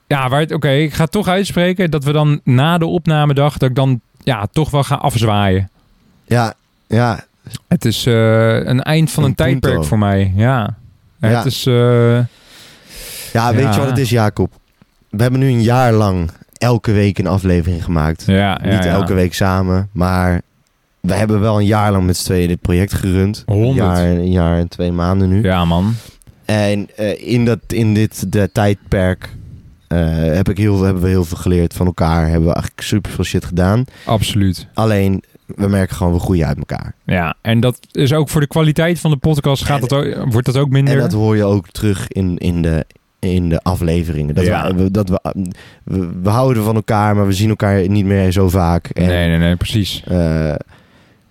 B: ja, waar het- oké, ik ga het toch uitspreken... dat we dan na de opnamedag... dat ik dan ja, toch wel ga afzwaaien.
A: Ja, ja.
B: Het is eh, een eind van een,
A: Een punto.
B: tijdperk voor mij, ja.
A: Ja.
B: Het is... eh,
A: ja weet
B: Ja.
A: je wat het is, Jacob? We hebben nu een jaar lang elke week een aflevering gemaakt.
B: ja, ja,
A: Niet
B: ja.
A: elke week samen, maar we hebben wel een jaar lang met z'n tweeën dit project gerund. Een
B: Honderd.
A: jaar, een jaar en twee maanden nu.
B: Ja, man.
A: En eh, in, dat, in dit de tijdperk eh, heb ik heel, hebben we heel veel geleerd van elkaar. Hebben we eigenlijk super veel shit gedaan.
B: Absoluut.
A: Alleen, we merken gewoon, we groeien uit elkaar.
B: Ja, en dat is ook voor de kwaliteit van de podcast gaat
A: En-
B: dat ook, wordt dat ook minder.
A: En dat hoor je ook terug in, in, de, in de afleveringen. Dat,
B: Ja.
A: we, we- dat we, ah, we, we houden van elkaar, maar we zien elkaar niet meer zo vaak. En,
B: nee, nee, nee, precies.
A: eh,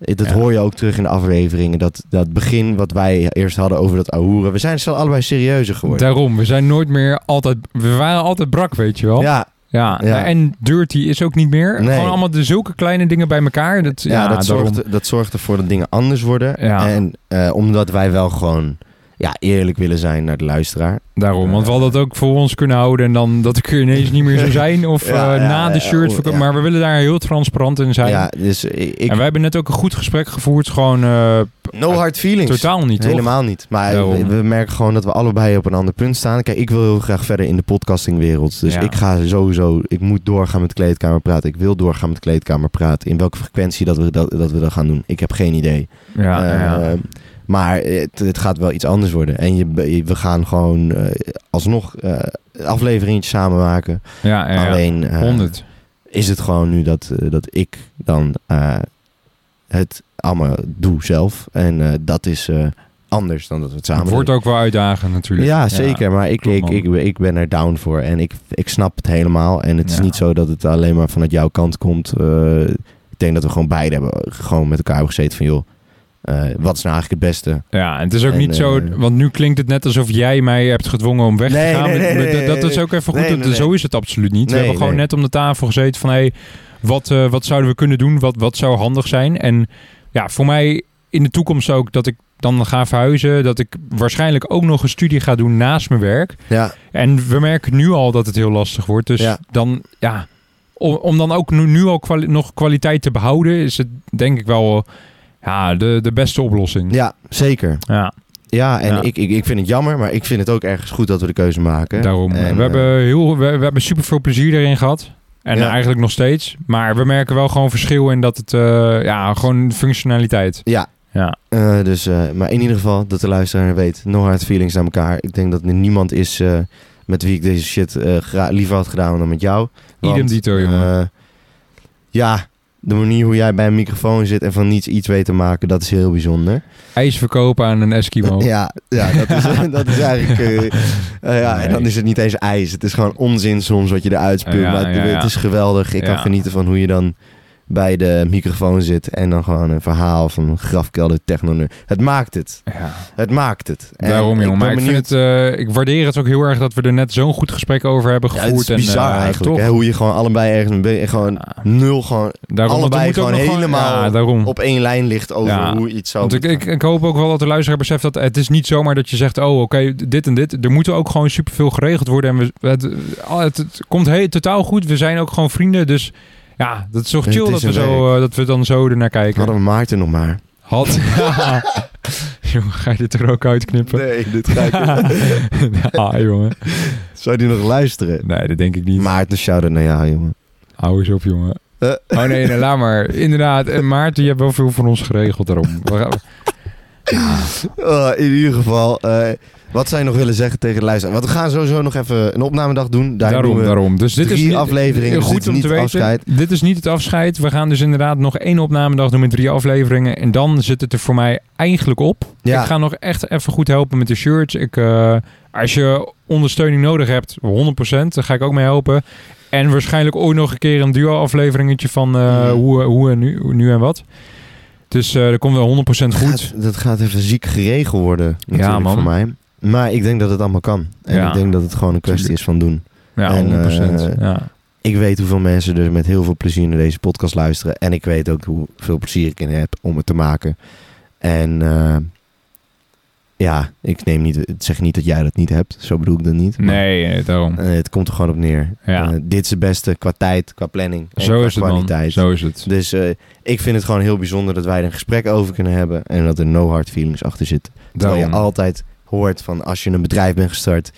A: dat
B: Ja.
A: hoor je ook terug in de afleveringen. Dat, dat begin wat wij eerst hadden over dat ahoeren. We zijn snel allebei dus serieuzer geworden.
B: Daarom, we zijn nooit meer altijd... We waren altijd brak, weet je wel.
A: ja,
B: Ja,
A: Ja.
B: en dirty is ook niet meer.
A: Nee.
B: Gewoon allemaal de, zulke kleine dingen bij elkaar. Dat, ja,
A: Ja, dat,
B: daarom.
A: zorgt, dat zorgt ervoor dat dingen anders worden.
B: Ja.
A: En eh, omdat wij wel gewoon ja, eerlijk willen zijn naar de luisteraar.
B: Daarom, want we hadden dat ook voor ons kunnen houden en dan dat ik er ineens niet meer zou zijn of
A: Ja,
B: eh,
A: ja,
B: na de
A: ja,
B: shirt.
A: ja.
B: verkoop. Maar we willen daar heel transparant in zijn.
A: Ja, dus ik...
B: en wij hebben net ook een goed gesprek gevoerd, gewoon eh,
A: No hard feelings.
B: totaal niet, toch?
A: Helemaal niet. Maar
B: Daarom.
A: we, we merken gewoon dat we allebei op een ander punt staan. Kijk, ik wil heel graag verder in de podcastingwereld. Dus
B: Ja.
A: ik ga sowieso... Ik moet doorgaan met kleedkamer praten. Ik wil doorgaan met kleedkamer praten. In welke frequentie dat we dat, dat, we dat gaan doen. Ik heb geen idee.
B: Ja,
A: Eh,
B: ja.
A: Maar het, het gaat wel iets anders worden. En je, je- we gaan gewoon eh, alsnog eh afleveringetjes samen maken.
B: ja, ja, ja.
A: Alleen eh,
B: 100.
A: is het gewoon nu dat, eh, dat ik dan eh, het allemaal doe zelf. En eh, dat is eh, anders dan dat we het samen
B: Het wordt
A: doen.
B: ook wel uitdagend natuurlijk.
A: Ja, zeker. Maar ik,
B: klopt,
A: ik,
B: man.
A: ik, ik ben er down voor. En ik, ik snap het helemaal. En het is
B: Ja.
A: niet zo dat het alleen maar vanuit jouw kant komt. Eh, ik denk dat we gewoon beide hebben, eh, gewoon met elkaar hebben gezeten van... joh, eh, wat is nou eigenlijk het beste?
B: Ja, en het is ook
A: En,
B: niet zo,
A: eh,
B: want nu klinkt het net alsof jij mij hebt gedwongen om weg
A: Nee,
B: te gaan.
A: nee, nee,
B: Maar
A: nee,
B: dat, dat
A: nee,
B: is ook even goed,
A: nee,
B: dat-
A: nee,
B: zo
A: nee.
B: is het absoluut niet. we
A: Nee,
B: hebben gewoon
A: nee.
B: net om de tafel gezeten van, hé, hey, wat, eh, wat zouden we kunnen doen? Wat, wat zou handig zijn? En ja, voor mij in de toekomst ook dat ik dan ga verhuizen, dat ik waarschijnlijk ook nog een studie ga doen naast mijn werk.
A: Ja,
B: En we merken nu al dat het heel lastig wordt. Dus
A: Ja.
B: dan, ja, om, om dan ook nu, nu al kwali- nog kwaliteit te behouden, is het denk ik wel ja, de, de beste oplossing.
A: ja zeker.
B: ja.
A: Ja, en
B: Ja.
A: Ik, ik, ik vind het jammer, maar ik vind het ook ergens goed dat we de keuze maken.
B: Daarom.
A: En,
B: we,
A: eh,
B: hebben heel, we, we hebben super veel plezier erin gehad. En
A: Ja.
B: eigenlijk nog steeds. Maar we merken wel gewoon verschil in dat het... eh, ja, gewoon functionaliteit.
A: Ja.
B: Ja.
A: eh, dus, eh, maar in ieder geval, dat de luisteraar weet, no hard feelings naar elkaar. Ik denk dat er niemand is eh, met wie ik deze shit eh, gra- liever had gedaan dan met jou.
B: Idem dito, jongen.
A: eh, ja, de manier hoe jij bij een microfoon zit en van niets iets weet te maken, dat is heel bijzonder.
B: IJs verkopen aan een Eskimo.
A: Ja, ja dat, is, dat is eigenlijk... eh, eh, ja, En dan is het niet eens ijs. Het is gewoon onzin soms wat je eruit spuugt.
B: Ja,
A: maar het,
B: ja, ja.
A: het is geweldig. Ik
B: Ja.
A: kan genieten van hoe je dan bij de microfoon zit. En dan gewoon een verhaal van grafkelder technoneur. Het maakt het.
B: Ja.
A: Het maakt het. En
B: Daarom, jongen.
A: ben
B: Maar ik, vind
A: benieuwd-
B: het, eh, ik waardeer het ook heel erg dat we er net zo'n goed gesprek over hebben
A: Ja, het
B: gevoerd.
A: is bizar
B: en, eh,
A: eigenlijk.
B: toch?
A: Hè? Hoe je gewoon allebei ergens... mee bent en Gewoon
B: Ja.
A: nul gewoon
B: Daarom, want er
A: Allebei
B: moet ook
A: gewoon
B: nog
A: helemaal
B: Ja, daarom.
A: op één lijn ligt over
B: Ja.
A: hoe iets zou
B: Want ik,
A: moeten
B: ik, ik hoop ook wel dat de luisteraar beseft dat het is niet zomaar dat je zegt... oh, oké, dit en dit. Er moet ook gewoon superveel geregeld worden. En we, het, het, het komt heel, totaal goed. We zijn ook gewoon vrienden. Dus ja, dat is toch
A: Het
B: chill
A: is
B: dat we,
A: een
B: zo,
A: werk.
B: eh, dat we dan zo ernaar kijken.
A: Hadden we Maarten nog maar.
B: Had. jongen, ga je dit er ook uitknippen?
A: Nee, dit ga ik...
B: ah, jongen.
A: Zou die nog luisteren?
B: Nee, dat denk ik niet.
A: Maarten, shout-out naar jou, jongen.
B: Hou eens op, jongen.
A: Eh.
B: Oh nee, nee, laat maar. Inderdaad. En Maarten, je hebt wel veel voor ons geregeld daarom. We gaan-
A: Eh, in ieder geval, eh, wat zij nog willen zeggen tegen de luisteraar. Want we gaan sowieso nog even een opnamedag doen. Daar
B: daarom,
A: doen we
B: daarom. Dus dit
A: drie
B: is niet-
A: afleveringen, dus dit is niet het afscheid.
B: Dit is niet het afscheid. We gaan dus inderdaad nog één opnamedag doen met drie afleveringen. En dan zit het er voor mij eigenlijk op.
A: Ja.
B: Ik ga nog echt even goed helpen met de shirts. Ik, eh, als je ondersteuning nodig hebt, 100%, daar ga ik ook mee helpen. En waarschijnlijk ooit nog een keer een duo-afleveringetje van eh,
A: Mhm.
B: hoe, hoe en nu, hoe nu en wat. Dus eh dat komt wel 100% goed.
A: Gaat- dat gaat even ziek geregeld worden natuurlijk
B: man.
A: voor mij. Maar ik denk dat het allemaal kan. En
B: Ja.
A: ik denk dat het gewoon een kwestie is van doen.
B: Ja,
A: En,
B: 100%.
A: eh,
B: ja.
A: Ik weet hoeveel mensen dus met heel veel plezier naar deze podcast luisteren. En ik weet ook hoeveel plezier ik in heb om het te maken. En eh, ja, ik neem niet, ik zeg niet dat jij dat niet hebt. Zo bedoel ik dat niet. Maar,
B: Nee, eh, daarom.
A: eh, het komt er gewoon op neer.
B: Ja.
A: Eh, dit is het beste qua tijd, qua planning. en
B: Zo
A: qua
B: is het, man.
A: kwaliteit.
B: Zo is het.
A: Dus eh, ik vind het gewoon heel bijzonder dat wij er een gesprek over kunnen hebben. En dat er no hard feelings achter zitten. Terwijl je
B: Daarom.
A: altijd hoort van als je een bedrijf bent gestart.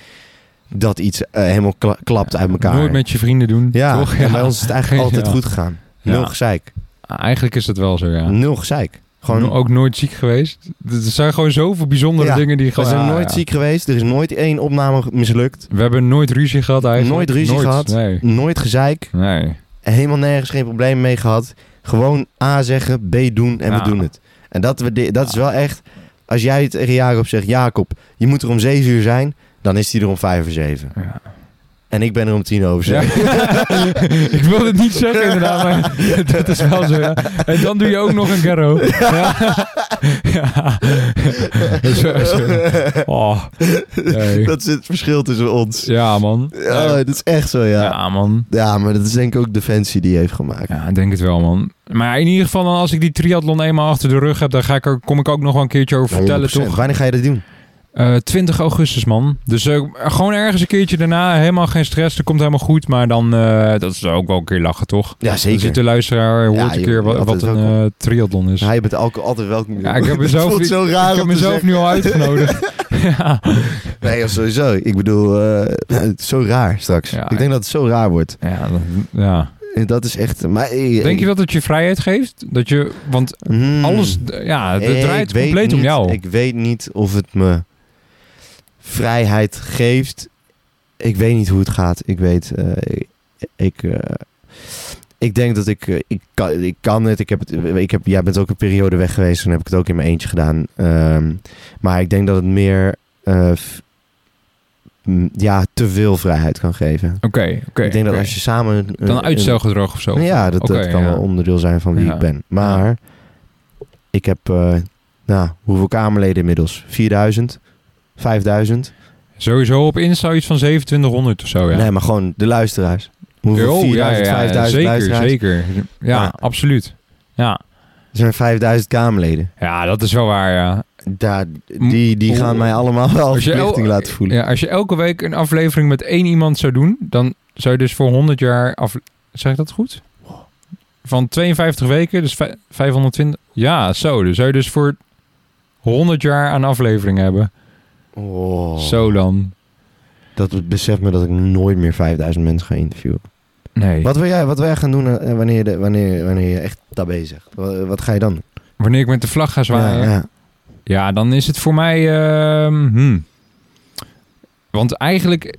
A: Dat iets eh, helemaal kla- klapt uit elkaar.
B: Nooit met je vrienden doen.
A: ja,
B: toch?
A: en bij ons is het eigenlijk altijd
B: Ja.
A: goed gegaan.
B: Ja.
A: Nul gezeik.
B: Ah, Eigenlijk is dat wel zo, ja.
A: Nul gezeik. Gewoon,
B: Gewoon ook nooit ziek geweest. Er zijn gewoon zoveel bijzondere
A: Ja,
B: dingen die
A: we
B: gewoon.
A: zijn
B: ja,
A: nooit
B: ja.
A: ziek geweest. Er is nooit één opname mislukt.
B: We hebben nooit ruzie gehad eigenlijk.
A: Nooit ruzie gehad.
B: Nee.
A: Nooit gezeik.
B: Nee.
A: Helemaal nergens geen probleem mee gehad. Gewoon A zeggen, B doen en
B: Ja.
A: we doen het. En dat, we di- dat is wel echt... Als jij tegen Jacob zegt... Jacob, je moet er om 7 uur zijn. Dan is hij er om 5 voor 7.
B: Ja.
A: En ik ben er om tien over
B: Ja.
A: zeven.
B: ik wil het niet zeggen inderdaad, maar dat is wel zo, ja. En dan doe je ook nog een garro. Ja. ja. Zo, zo. Oh. Nee.
A: Dat is het verschil tussen ons.
B: Ja, man.
A: Ja, dat is echt zo, ja. ja.
B: ja, man.
A: maar dat is denk ik ook de fancy die heeft gemaakt.
B: Ja, ik denk het wel, man. Maar in ieder geval, dan als ik die triathlon eenmaal achter de rug heb, dan ga ik er, kom ik ook nog wel een keertje over vertellen,
A: 100%.
B: toch?
A: Wanneer ga je dat doen?
B: Eh, 20 augustus, man. Dus eh, gewoon ergens een keertje daarna, helemaal geen stress, dat komt helemaal goed. Maar dan, eh, dat is ook wel een keer lachen, toch?
A: Ja,
B: Dan zit de luisteraar, hoort
A: Ja,
B: een
A: je-
B: keer wat,
A: altijd
B: wat een
A: welkom.
B: eh, triathlon is.
A: Ja, je bent alcohol altijd welkom.
B: Ja, ik heb
A: Het
B: mezelf-
A: voelt zo raar
B: ik heb
A: om te
B: mezelf
A: zeggen.
B: nu al uitgenodigd. ja.
A: Nee, of sowieso. Ik bedoel, eh, het is zo raar straks.
B: Ja.
A: ik denk dat het zo raar wordt.
B: Ja, dan- ja.
A: En Dat is echt... Maar, eh,
B: Denk je dat het je vrijheid geeft? Dat je, want
A: Hmm.
B: alles, ja, het
A: Eh,
B: draait
A: ik weet
B: compleet om
A: niet-
B: jou.
A: Ik weet niet of het me vrijheid geeft. Ik weet niet hoe het gaat. Ik weet... eh, ik, ik, eh, ik denk dat ik... eh, ik, kan, ik kan het. Ik heb het ik heb, jij bent ook een periode weg geweest. Toen heb ik het ook in mijn eentje gedaan. Ehm, maar ik denk dat het meer... eh, f- m, ja, te veel vrijheid kan geven.
B: Oké, oké.
A: ik denk
B: oké.
A: dat als je samen... een-
B: Dan
A: een-
B: uitstelgedrag of zo.
A: ja, dat,
B: Oké,
A: dat kan
B: ja.
A: wel onderdeel zijn van wie
B: Ja.
A: ik ben. Maar ik heb, eh, nou, hoeveel Kamerleden inmiddels? 4000? 5000?
B: Sowieso op Insta iets van 2700 of zo, Oh, ja.
A: Nee, maar gewoon de luisteraars. Hoeveel?
B: Oh,
A: 4000, 5000
B: zeker,
A: luisteraars?
B: zeker. Ja,
A: Ja.
B: absoluut. Ja.
A: Er zijn 5000 Kamerleden.
B: ja, dat is wel waar, ja.
A: Daar, die die
B: Oeh.
A: gaan mij allemaal wel
B: oh. Als je
A: verplichting
B: el-
A: laten voelen.
B: ja. Als je elke week een aflevering met één iemand zou doen, dan zou je dus voor 100 jaar... Af... Zeg ik dat goed? Van 52 weken, dus vij- 520... Ja, zo. Dus zou je dus voor 100 jaar aan afleveringen hebben.
A: Oh,
B: Zo dan.
A: Dat beseft me dat ik nooit meer 5000 mensen ga interviewen.
B: Nee.
A: Wat wil jij, wat wil jij gaan doen eh, wanneer, de, wanneer, wanneer je echt daarbij zegt? Wat, wat ga je dan? doen?
B: Wanneer ik met de vlag ga zwaaien...
A: Ja, ja.
B: Ja, dan is het voor mij. ehm, hmm. Want eigenlijk.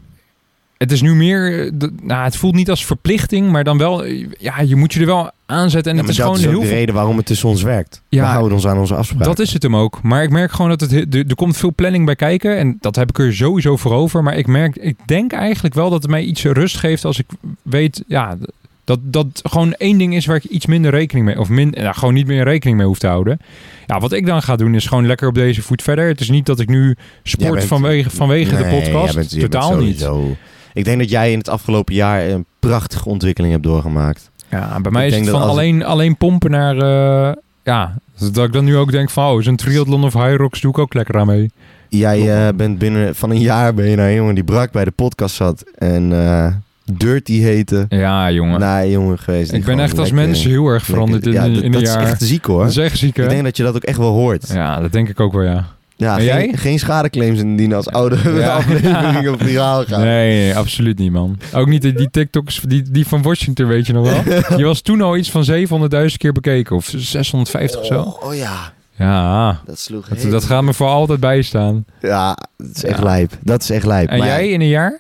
B: Het is nu meer. eh, de- nou, het voelt niet als verplichting, maar dan wel. eh, Ja, je moet je er wel aanzetten. En
A: Ja, maar
B: het is gewoon
A: dat is ook
B: heel
A: de
B: veel.
A: reden waarom het tussen ons werkt.
B: Ja,
A: We houden ons aan onze afspraken.
B: Dat is het hem ook. Maar ik merk gewoon dat het, he- er er komt veel planning bij kijken. En dat heb ik er sowieso voor over. Maar ik merk, ik denk eigenlijk wel dat het mij iets rust geeft als ik weet, ja, dat dat gewoon één ding is waar ik iets minder rekening mee, of min, nou, gewoon niet meer rekening mee hoef te houden. Ja, wat ik dan ga doen is gewoon lekker op deze voet verder. Het is niet dat ik nu
A: Jij
B: sport
A: bent-
B: vanwege, vanwege de
A: Nee,
B: podcast.
A: jij bent- jij
B: Totaal
A: bent
B: niet.
A: sowieso- Ik denk dat jij in het afgelopen jaar een prachtige ontwikkeling hebt doorgemaakt.
B: Ja, bij mij
A: Ik
B: is
A: denk
B: het
A: dat
B: van
A: als-
B: alleen, alleen pompen naar, eh, ja, dat ik dan nu ook denk van, oh, zo'n triathlon of high rocks doe ik ook lekker aan mee.
A: Jij
B: Klopt.
A: eh, bent binnen van een jaar ben je naar een jongen die brak bij de podcast zat en eh, dirty heette.
B: Ja, jongen.
A: Nee, jongen geweest. die
B: Ik ben
A: gewoon
B: echt als
A: lekker-
B: mens heel erg
A: lekker-
B: veranderd in,
A: Ja,
B: in
A: dat-
B: een
A: dat
B: jaar.
A: is echt ziek hoor.
B: dat is echt ziek, hè?
A: Ik denk dat je dat ook echt wel hoort. Ja,
B: Ja, dat denk ik ook wel, ja. En
A: geen,
B: jij?
A: geen schadeclaims indienen als oude
B: Ja.
A: aflevering op viraal gaan.
B: Nee, nee, absoluut niet, man. Ook niet die, die TikToks, die, die van Washington, weet je nog wel? Die was toen al iets van 700.000 keer bekeken, of 650 of zo.
A: Oh, oh ja,
B: Ja,
A: dat sloeg
B: dat,
A: heel-
B: dat gaat me voor altijd bijstaan.
A: Ja, dat is echt
B: Ja.
A: lijp. Dat is echt lijp.
B: En
A: Maar ja,
B: jij in een jaar?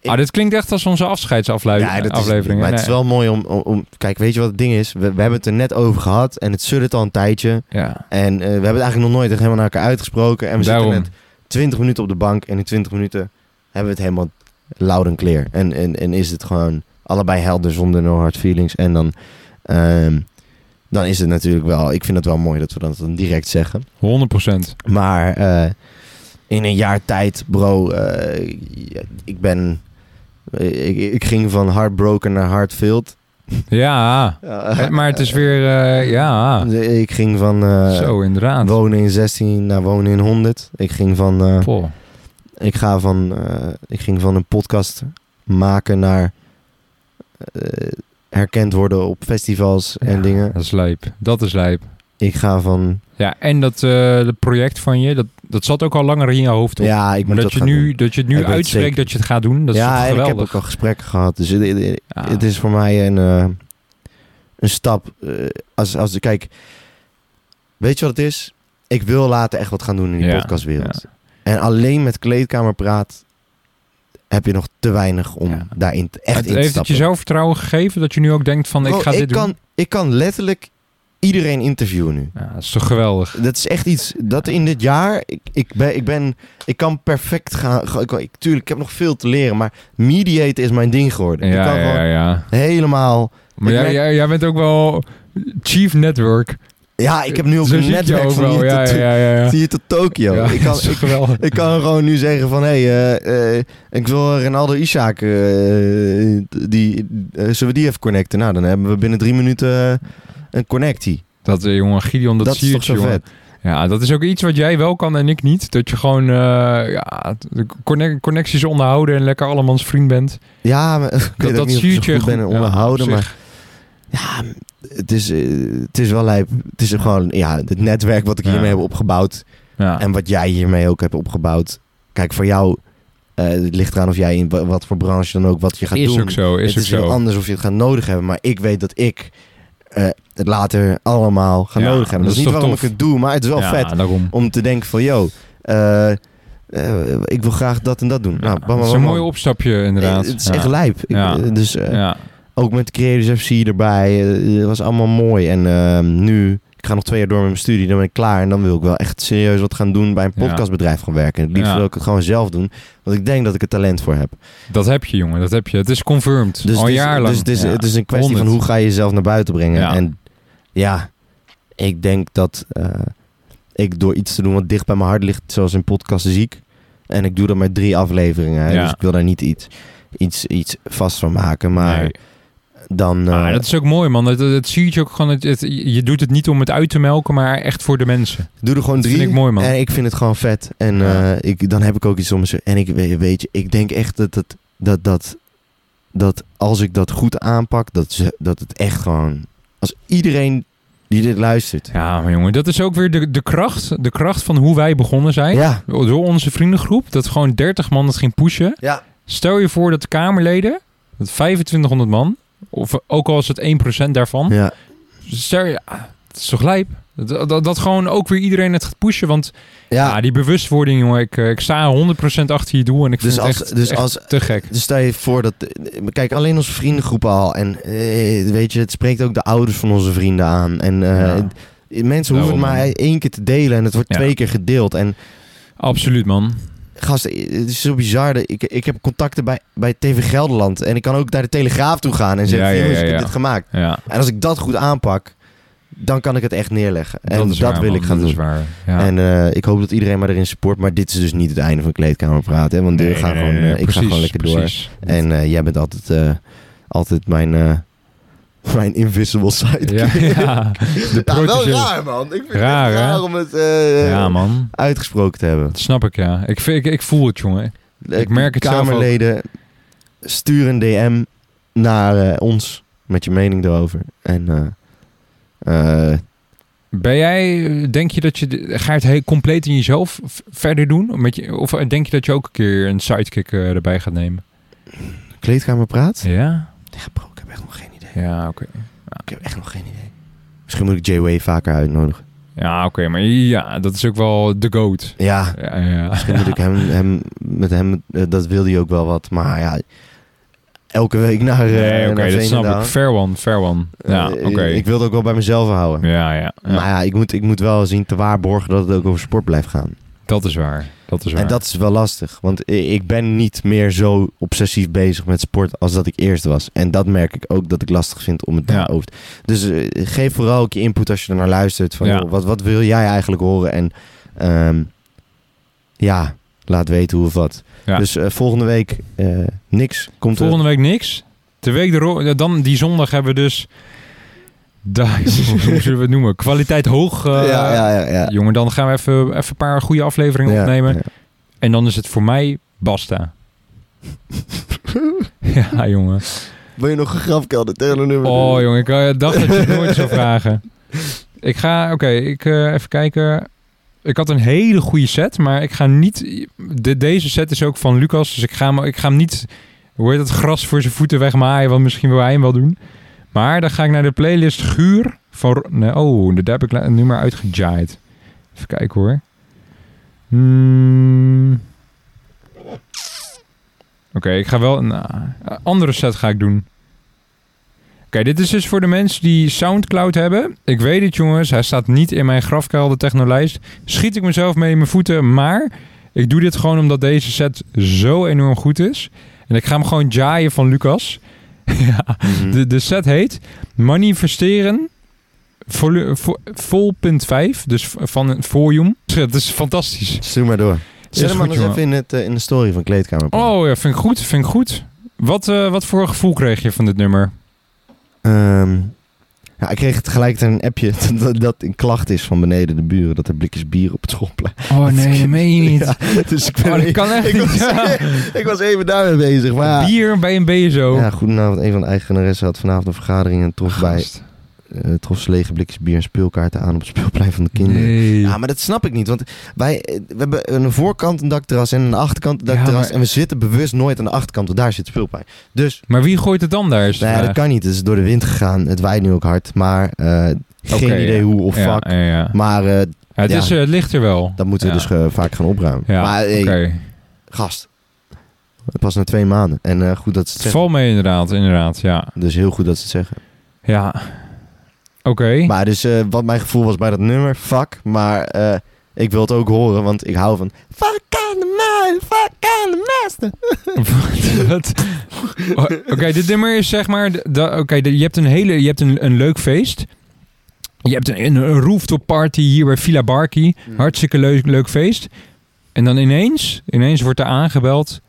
A: Ik-
B: Ah, dit klinkt echt als onze afscheidsaflevering.
A: Ja, dat is,
B: aflevering, eh, hè?
A: maar het is
B: Nee.
A: wel mooi om, om, om- Kijk, weet je wat het ding is? We, we hebben het er net over gehad en het suddert al een tijdje.
B: Ja,
A: En eh, we hebben het eigenlijk nog nooit echt helemaal naar elkaar uitgesproken. En we
B: daarom.
A: zitten net 20 minuten op de bank en in 20 minuten hebben we het helemaal loud en clear. En, en, en is het gewoon allebei helder zonder no hard feelings. En dan, ehm, dan is het natuurlijk wel... Ik vind het wel mooi dat we dat dan direct zeggen.
B: 100%.
A: Maar eh, in een jaar tijd, bro, eh, ik ben... eh, Ik, ik ging van heartbroken naar heartfilled.
B: Ja,
A: Ja,
B: maar het is weer, eh, ja,
A: eh, Ik ging van eh,
B: zo inderdaad.
A: wonen in 16 naar wonen in 100. Ik ging van, eh,
B: Poh.
A: ik ga van, eh, ik ging van een podcast maken naar eh, herkend worden op festivals en
B: Ja,
A: dingen.
B: Dat is lijp. Dat is lijp.
A: Ik ga van,
B: Ja, en dat eh, dat project van je, dat, dat zat ook al langer in je hoofd. Toch?
A: ja, ik moet
B: maar dat,
A: dat
B: je
A: gaan
B: nu,
A: doen.
B: dat je het
A: Ik
B: nu
A: weet het
B: uitspreekt
A: zeker.
B: dat je het gaat doen, dat is
A: ja,
B: toch
A: en ik heb
B: geweldig.
A: ook al gesprekken gehad. Dus het, het-
B: Ja.
A: het is voor mij een, eh, een stap. eh, als, als, kijk, weet je wat het is? Ik wil later echt wat gaan doen in die
B: Ja,
A: podcastwereld. En alleen met kleedkamerpraat heb je nog te weinig om
B: Ja.
A: daarin te- echt
B: het
A: in te
B: heeft het je
A: stappen.
B: zelfvertrouwen gegeven dat je nu ook denkt van, ik
A: Bro,
B: ga dit
A: kan,
B: doen?
A: Ik kan letterlijk iedereen interviewen nu.
B: Ja, dat is toch geweldig.
A: Dat is echt iets dat in dit jaar. Ik, ik, ben, ik, ben, ik kan perfect gaan. ga- Ik, ik, tuurlijk, ik heb nog veel te leren. Maar mediaten is mijn ding geworden. ik
B: Ja,
A: kan
B: ja, ja,
A: gewoon helemaal.
B: Maar
A: Ik
B: jij,
A: merk-
B: jij, jij bent ook wel chief network.
A: Ja, ik heb nu ook
B: Zo zie
A: een
B: ik je
A: netwerk van
B: overal.
A: hier,
B: ja,
A: tot,
B: ja, ja, ja.
A: hier tot Tokio.
B: Ja,
A: ik, kan,
B: dat is
A: ik,
B: geweldig.
A: ik kan gewoon nu zeggen van... Hé, hey, eh, eh, ik wil Ronaldo Isaac... eh, die, eh, zullen we die even connecten? Nou, dan hebben we binnen drie minuten eh, een connectie.
B: Dat, eh, jongen, Gideon, dat,
A: Dat, is
B: zie
A: toch
B: je,
A: zo
B: jongen.
A: vet?
B: Ja, dat is ook iets wat jij wel kan en ik niet. Dat je gewoon eh, ja, de conne- connecties onderhouden en lekker allemans vriend bent.
A: Ja, maar, ik weet
B: dat
A: ook niet of
B: zie
A: ik
B: ik
A: zo
B: je
A: goed ben
B: goed-
A: in
B: ja,
A: onderhouden,
B: op
A: maar... Ja, het is, eh, het is wel lijp. Het is gewoon ja, het netwerk wat ik
B: Ja.
A: hiermee heb opgebouwd.
B: Ja,
A: En wat jij hiermee ook hebt opgebouwd. Kijk, voor jou... eh, het ligt eraan of jij in wa- wat voor branche dan ook wat je gaat
B: is
A: doen.
B: ook zo, is
A: het
B: ook
A: is heel
B: zo.
A: anders of je het gaat nodig hebben. Maar ik weet dat ik eh, het later allemaal ga
B: Ja,
A: nodig hebben.
B: dat
A: Dat
B: is
A: is niet
B: toch
A: waarom
B: tof?
A: ik het doe, maar het is wel
B: ja,
A: vet
B: daarom.
A: om te denken van... Yo, eh, eh, ik wil graag dat en dat doen. nou,
B: Ja,
A: bam,
B: dat is
A: bam,
B: een
A: bam.
B: mooi opstapje, inderdaad.
A: Eh, het is
B: ja.
A: echt lijp. Ik-
B: Ja.
A: eh, dus eh,
B: Ja.
A: ook met Creators FC erbij. eh, het was allemaal mooi. En eh, nu... Ik ga nog twee jaar door met mijn studie, dan ben ik klaar. En dan wil ik wel echt serieus wat gaan doen bij een
B: Ja.
A: podcastbedrijf gaan werken. Het liefst
B: Ja.
A: wil ik het gewoon zelf doen. Want ik denk dat ik er talent voor heb.
B: Dat heb je, jongen. Dat heb je. Het is confirmed.
A: Dus
B: Al
A: het is,
B: jaar lang.
A: Dus het is,
B: Ja.
A: het is een kwestie
B: 100.
A: van hoe ga je jezelf naar buiten brengen.
B: Ja.
A: En ja, ik denk dat eh, ik door iets te doen wat dicht bij mijn hart ligt, zoals een podcast ziek. En ik doe dat met drie afleveringen. Hè,
B: Ja.
A: Dus ik wil daar niet iets, iets, iets vast van maken. Maar
B: Nee.
A: dan. eh,
B: Maar dat is ook mooi, man. Dat, dat, dat zie je ook gewoon. Het, het- je doet het niet om het uit te melken, maar echt voor de mensen.
A: Doe er gewoon
B: Dat
A: drie.
B: vind ik mooi, man.
A: En ik vind het gewoon vet. En
B: Ja.
A: eh, ik, dan heb ik ook iets om me. En ik weet weet je, ik denk echt dat dat, dat, dat, dat als ik dat goed aanpak, dat, ze, dat het echt gewoon. Als iedereen die dit luistert.
B: Ja, maar jongen, dat is ook weer de, de kracht. De kracht van hoe wij begonnen zijn.
A: Ja.
B: Door onze vriendengroep. Dat gewoon 30 man het ging pushen.
A: Ja.
B: Stel je voor dat de Kamerleden, dat 2500 man, of ook al is het 1% daarvan.
A: Ja.
B: Stel je, ah, het is toch lijp? Dat, dat, dat gewoon ook weer iedereen het gaat pushen. Want ja.
A: ja.
B: die bewustwording, jongen, ik, eh, ik sta 100% achter je doel. En ik
A: Dus
B: vind
A: als,
B: het echt,
A: dus
B: echt
A: als.
B: te gek.
A: Dus stel je voor dat. Kijk, alleen onze vriendengroep al. En eh, weet je, het spreekt ook de ouders van onze vrienden aan. En eh,
B: Ja.
A: mensen hoeven het
B: Daarom,
A: maar
B: man.
A: één keer te delen. En het wordt
B: Ja.
A: twee keer gedeeld. En
B: Absoluut, man.
A: Gast, eh, het is zo bizar. dat Ik, ik heb contacten bij, bij TV Gelderland. En ik kan ook naar de Telegraaf toe gaan en zeggen...
B: Ja,
A: "Hey,
B: ja,
A: jongens,
B: ja,
A: ik heb
B: ja.
A: dit gemaakt.
B: Ja,
A: En als ik dat goed aanpak, dan kan ik het echt neerleggen. En dat,
B: is waar,
A: wil
B: man.
A: ik gaan
B: dat
A: doen.
B: Is waar. Ja.
A: En eh, ik hoop dat iedereen maar erin support. Maar dit is dus niet het einde van kleedkamer praten. Hè? Want
B: Nee,
A: we gaan
B: nee,
A: gewoon,
B: nee,
A: eh, ik
B: nee,
A: ga
B: precies,
A: gewoon lekker
B: precies.
A: door. En eh, jij bent altijd, eh, altijd mijn, eh, mijn invisible side.
B: Ja, ja. De
A: Ja, wel
B: protégé.
A: raar, man. Ik vind
B: Raar,
A: het
B: hè?
A: echt raar om het eh,
B: Ja, man.
A: uitgesproken te hebben.
B: Dat snap ik, ja. Ik, vind- ik, ik voel het, jongen. Ik merk het zelf ook.
A: Eh, Kamerleden, stuur een DM naar eh, ons met je mening erover. En eh, eh,
B: Ben jij, denk je dat je, de- ga je het heel compleet in jezelf v- verder doen? Met je, of eh, denk je dat je ook een keer een sidekick eh, erbij gaat nemen?
A: kleedkamer praat?
B: Ja?
A: Ja, bro, ik heb echt nog geen idee.
B: Ja, oké.
A: Ik heb echt nog geen idee. Misschien moet ik J-Way vaker uitnodigen.
B: Ja, oké, maar ja, dat is ook wel de goat.
A: Ja,
B: Ja, ja.
A: misschien moet ik hem, hem met hem, eh, dat wilde hij ook wel wat. Maar ja, elke week naar, eh,
B: Nee, oké,
A: naar
B: dat snap
A: Veenendaal.
B: ik. Fair one, fair one. Ja,
A: Eh,
B: oké.
A: Ik wilde ook wel bij mezelf houden.
B: Ja, ja. ja.
A: Maar ja, ik moet, ik moet wel zien te waarborgen dat het ook over sport blijft gaan.
B: dat is waar. Dat is waar.
A: En dat is wel lastig, want i- ik ben niet meer zo obsessief bezig met sport als dat ik eerst was. En dat merk ik ook dat ik lastig vind om het
B: Ja.
A: daarover te... Dus eh, geef vooral ook je input als je er naar luistert. Van,
B: Ja.
A: joh, wat, wat wil jij eigenlijk horen? En ehm, ja, laat weten hoe of wat.
B: Ja.
A: Dus eh, volgende week eh, niks. Komt
B: Volgende week niks. De week erop, ja, dan die zondag hebben we dus. Da- hoe zullen we het noemen? Kwaliteit hoog. eh,
A: er... ja, ja, ja, ja.
B: Jongen, dan gaan we even, even een paar goede afleveringen
A: Ja,
B: opnemen.
A: ja.
B: En dan is het voor mij basta. ja, jongen.
A: Wil je nog een grafkelder tegelnummer?
B: Oh, jongen, ik eh, dacht dat je het nooit zou vragen. Ik ga, oké, ik eh, even kijken. Ik had een hele goede set, maar ik ga niet. De, deze set is ook van Lucas, dus ik ga hem, ik ga hem niet. Hoe heet het gras voor zijn voeten wegmaaien? Want misschien wil hij hem wel doen. Maar dan ga ik naar de playlist Guur van. Ro- Nee, oh, daar heb ik la- een nummer uitgejaaid. Even kijken hoor. Hmm. Oké, ik ga wel een eh, andere set ga ik doen. dit is dus voor de mensen die Soundcloud hebben. Ik weet het, jongens. Hij staat niet in mijn grafkelder technolijst. Schiet ik mezelf mee in mijn voeten. Maar ik doe dit gewoon omdat deze set zo enorm goed is. En ik ga hem gewoon jaaien van Lucas. ja.
A: Mhm.
B: de, de set heet Manifesteren volu- vo- vol punt 5. Dus v- van het volume. Het is fantastisch.
A: Stuur maar door. Zet
B: Is
A: hem
B: goed,
A: maar eens
B: jongen.
A: even in, het, eh, in de story van Kleedkamer.
B: Oh ja, vind ik goed, vind ik goed. Wat, eh, wat voor gevoel kreeg je van dit nummer?
A: Ehm, ja, ik kreeg tegelijkertijd een appje dat, dat een klacht is van beneden de buren. Dat er blikjes bier op het schoolplein.
B: Oh nee, dat meen je niet.
A: Ja, dus ik, ben
B: Oh, dat
A: even-
B: kan echt
A: ik, was,
B: niet. Ja.
A: ik was even daarmee bezig. Maar,
B: Bier bij een BSO.
A: Ja, goedenavond. Een van de eigenaressen had vanavond een vergadering en trof, bij,
B: Ah, Gast.
A: eh trof ze lege blikjes bier en speelkaarten aan op het speelplein van de kinderen.
B: Nee.
A: Ja, maar dat snap ik niet. Want wij eh, we hebben een voorkant een dakterras en een achterkant een
B: Ja,
A: dakterras.
B: maar-
A: En we zitten bewust nooit aan de achterkant, want daar zit het speelplein. Dus,
B: Maar wie gooit het dan daar? is de
A: nou ja, dat
B: vraag.
A: kan niet. Het is door de wind gegaan. Het waait nu ook hard. Maar eh, geen
B: Oké,
A: idee
B: ja.
A: hoe of
B: Ja,
A: fuck.
B: ja, ja.
A: Maar eh,
B: Ja, het,
A: Ja.
B: Is, er- het ligt er wel.
A: dat moeten we
B: Ja.
A: dus eh, vaak gaan opruimen.
B: Ja,
A: maar hey,
B: Oké.
A: gast, pas na twee maanden. En eh, goed dat ze het
B: Het
A: zeggen.
B: valt mee inderdaad, inderdaad. Ja.
A: Dus heel goed dat ze het zeggen.
B: Ja. Oké.
A: Maar dus eh, wat mijn gevoel was bij dat nummer, fuck. Maar eh, ik wil het ook horen, want ik hou van... Fuck aan de man, fuck aan de master.
B: Wat? O- Oké, dit nummer is zeg maar. de- de- Oké, de- je hebt een hele, je hebt een, een leuk feest. Je hebt een, een rooftop party hier bij Villa Barkie. Hartstikke leuk, leuk feest. En dan ineens, ineens wordt er aangebeld.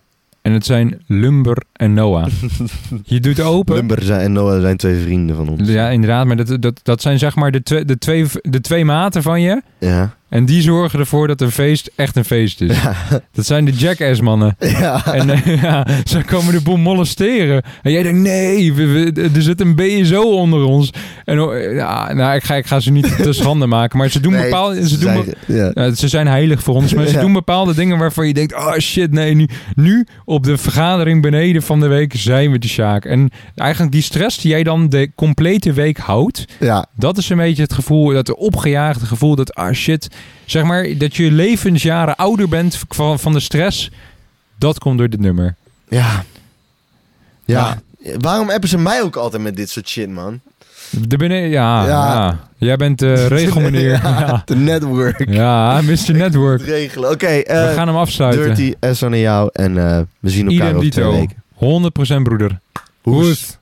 B: En het zijn Lumber en Noah. Je doet open.
A: Lumber zijn- en Noah zijn twee vrienden van ons.
B: Ja, inderdaad. Maar dat, dat, dat zijn zeg maar de, twee de, twee, de twee maten van je.
A: Ja.
B: En die zorgen ervoor dat een feest echt een feest is. Dat zijn de jackass-mannen.
A: ja.
B: En eh, ja, ze komen de boel molesteren. En jij denkt, nee, we- we- er zit een BSO onder ons. En oh, eh, ja, nou, ik ga, ik ga ze niet te schande maken. Maar ze doen
A: Nee,
B: bepaalde... Ze, doen
A: zijn-
B: be-
A: ja.
B: eh, ze zijn heilig voor ons, maar ze
A: Ja.
B: doen bepaalde dingen waarvan je denkt... Oh shit, nee, nu, nu op de vergadering beneden van de week zijn we de Sjaak. En eigenlijk die stress die jij dan de complete week houdt...
A: ja.
B: Dat is een beetje het gevoel, dat opgejaagde gevoel dat, ah shit, zeg maar, dat je levensjaren ouder bent van, van de stress. Dat komt door dit nummer.
A: Ja. Ja. Waarom appen ze mij ook altijd met dit soort shit, man?
B: De binnen, ja,
A: Ja.
B: ja. Jij bent eh regelmeneer. ja.
A: De network.
B: ja, Mr. Network.
A: Het regelen. Oké,
B: We
A: eh,
B: gaan hem afsluiten.
A: Dirty S aan jou. En eh, we zien elkaar
B: Idem
A: over twee
B: dito.
A: weken.
B: 100% broeder.
A: Hoes.
B: Hoes.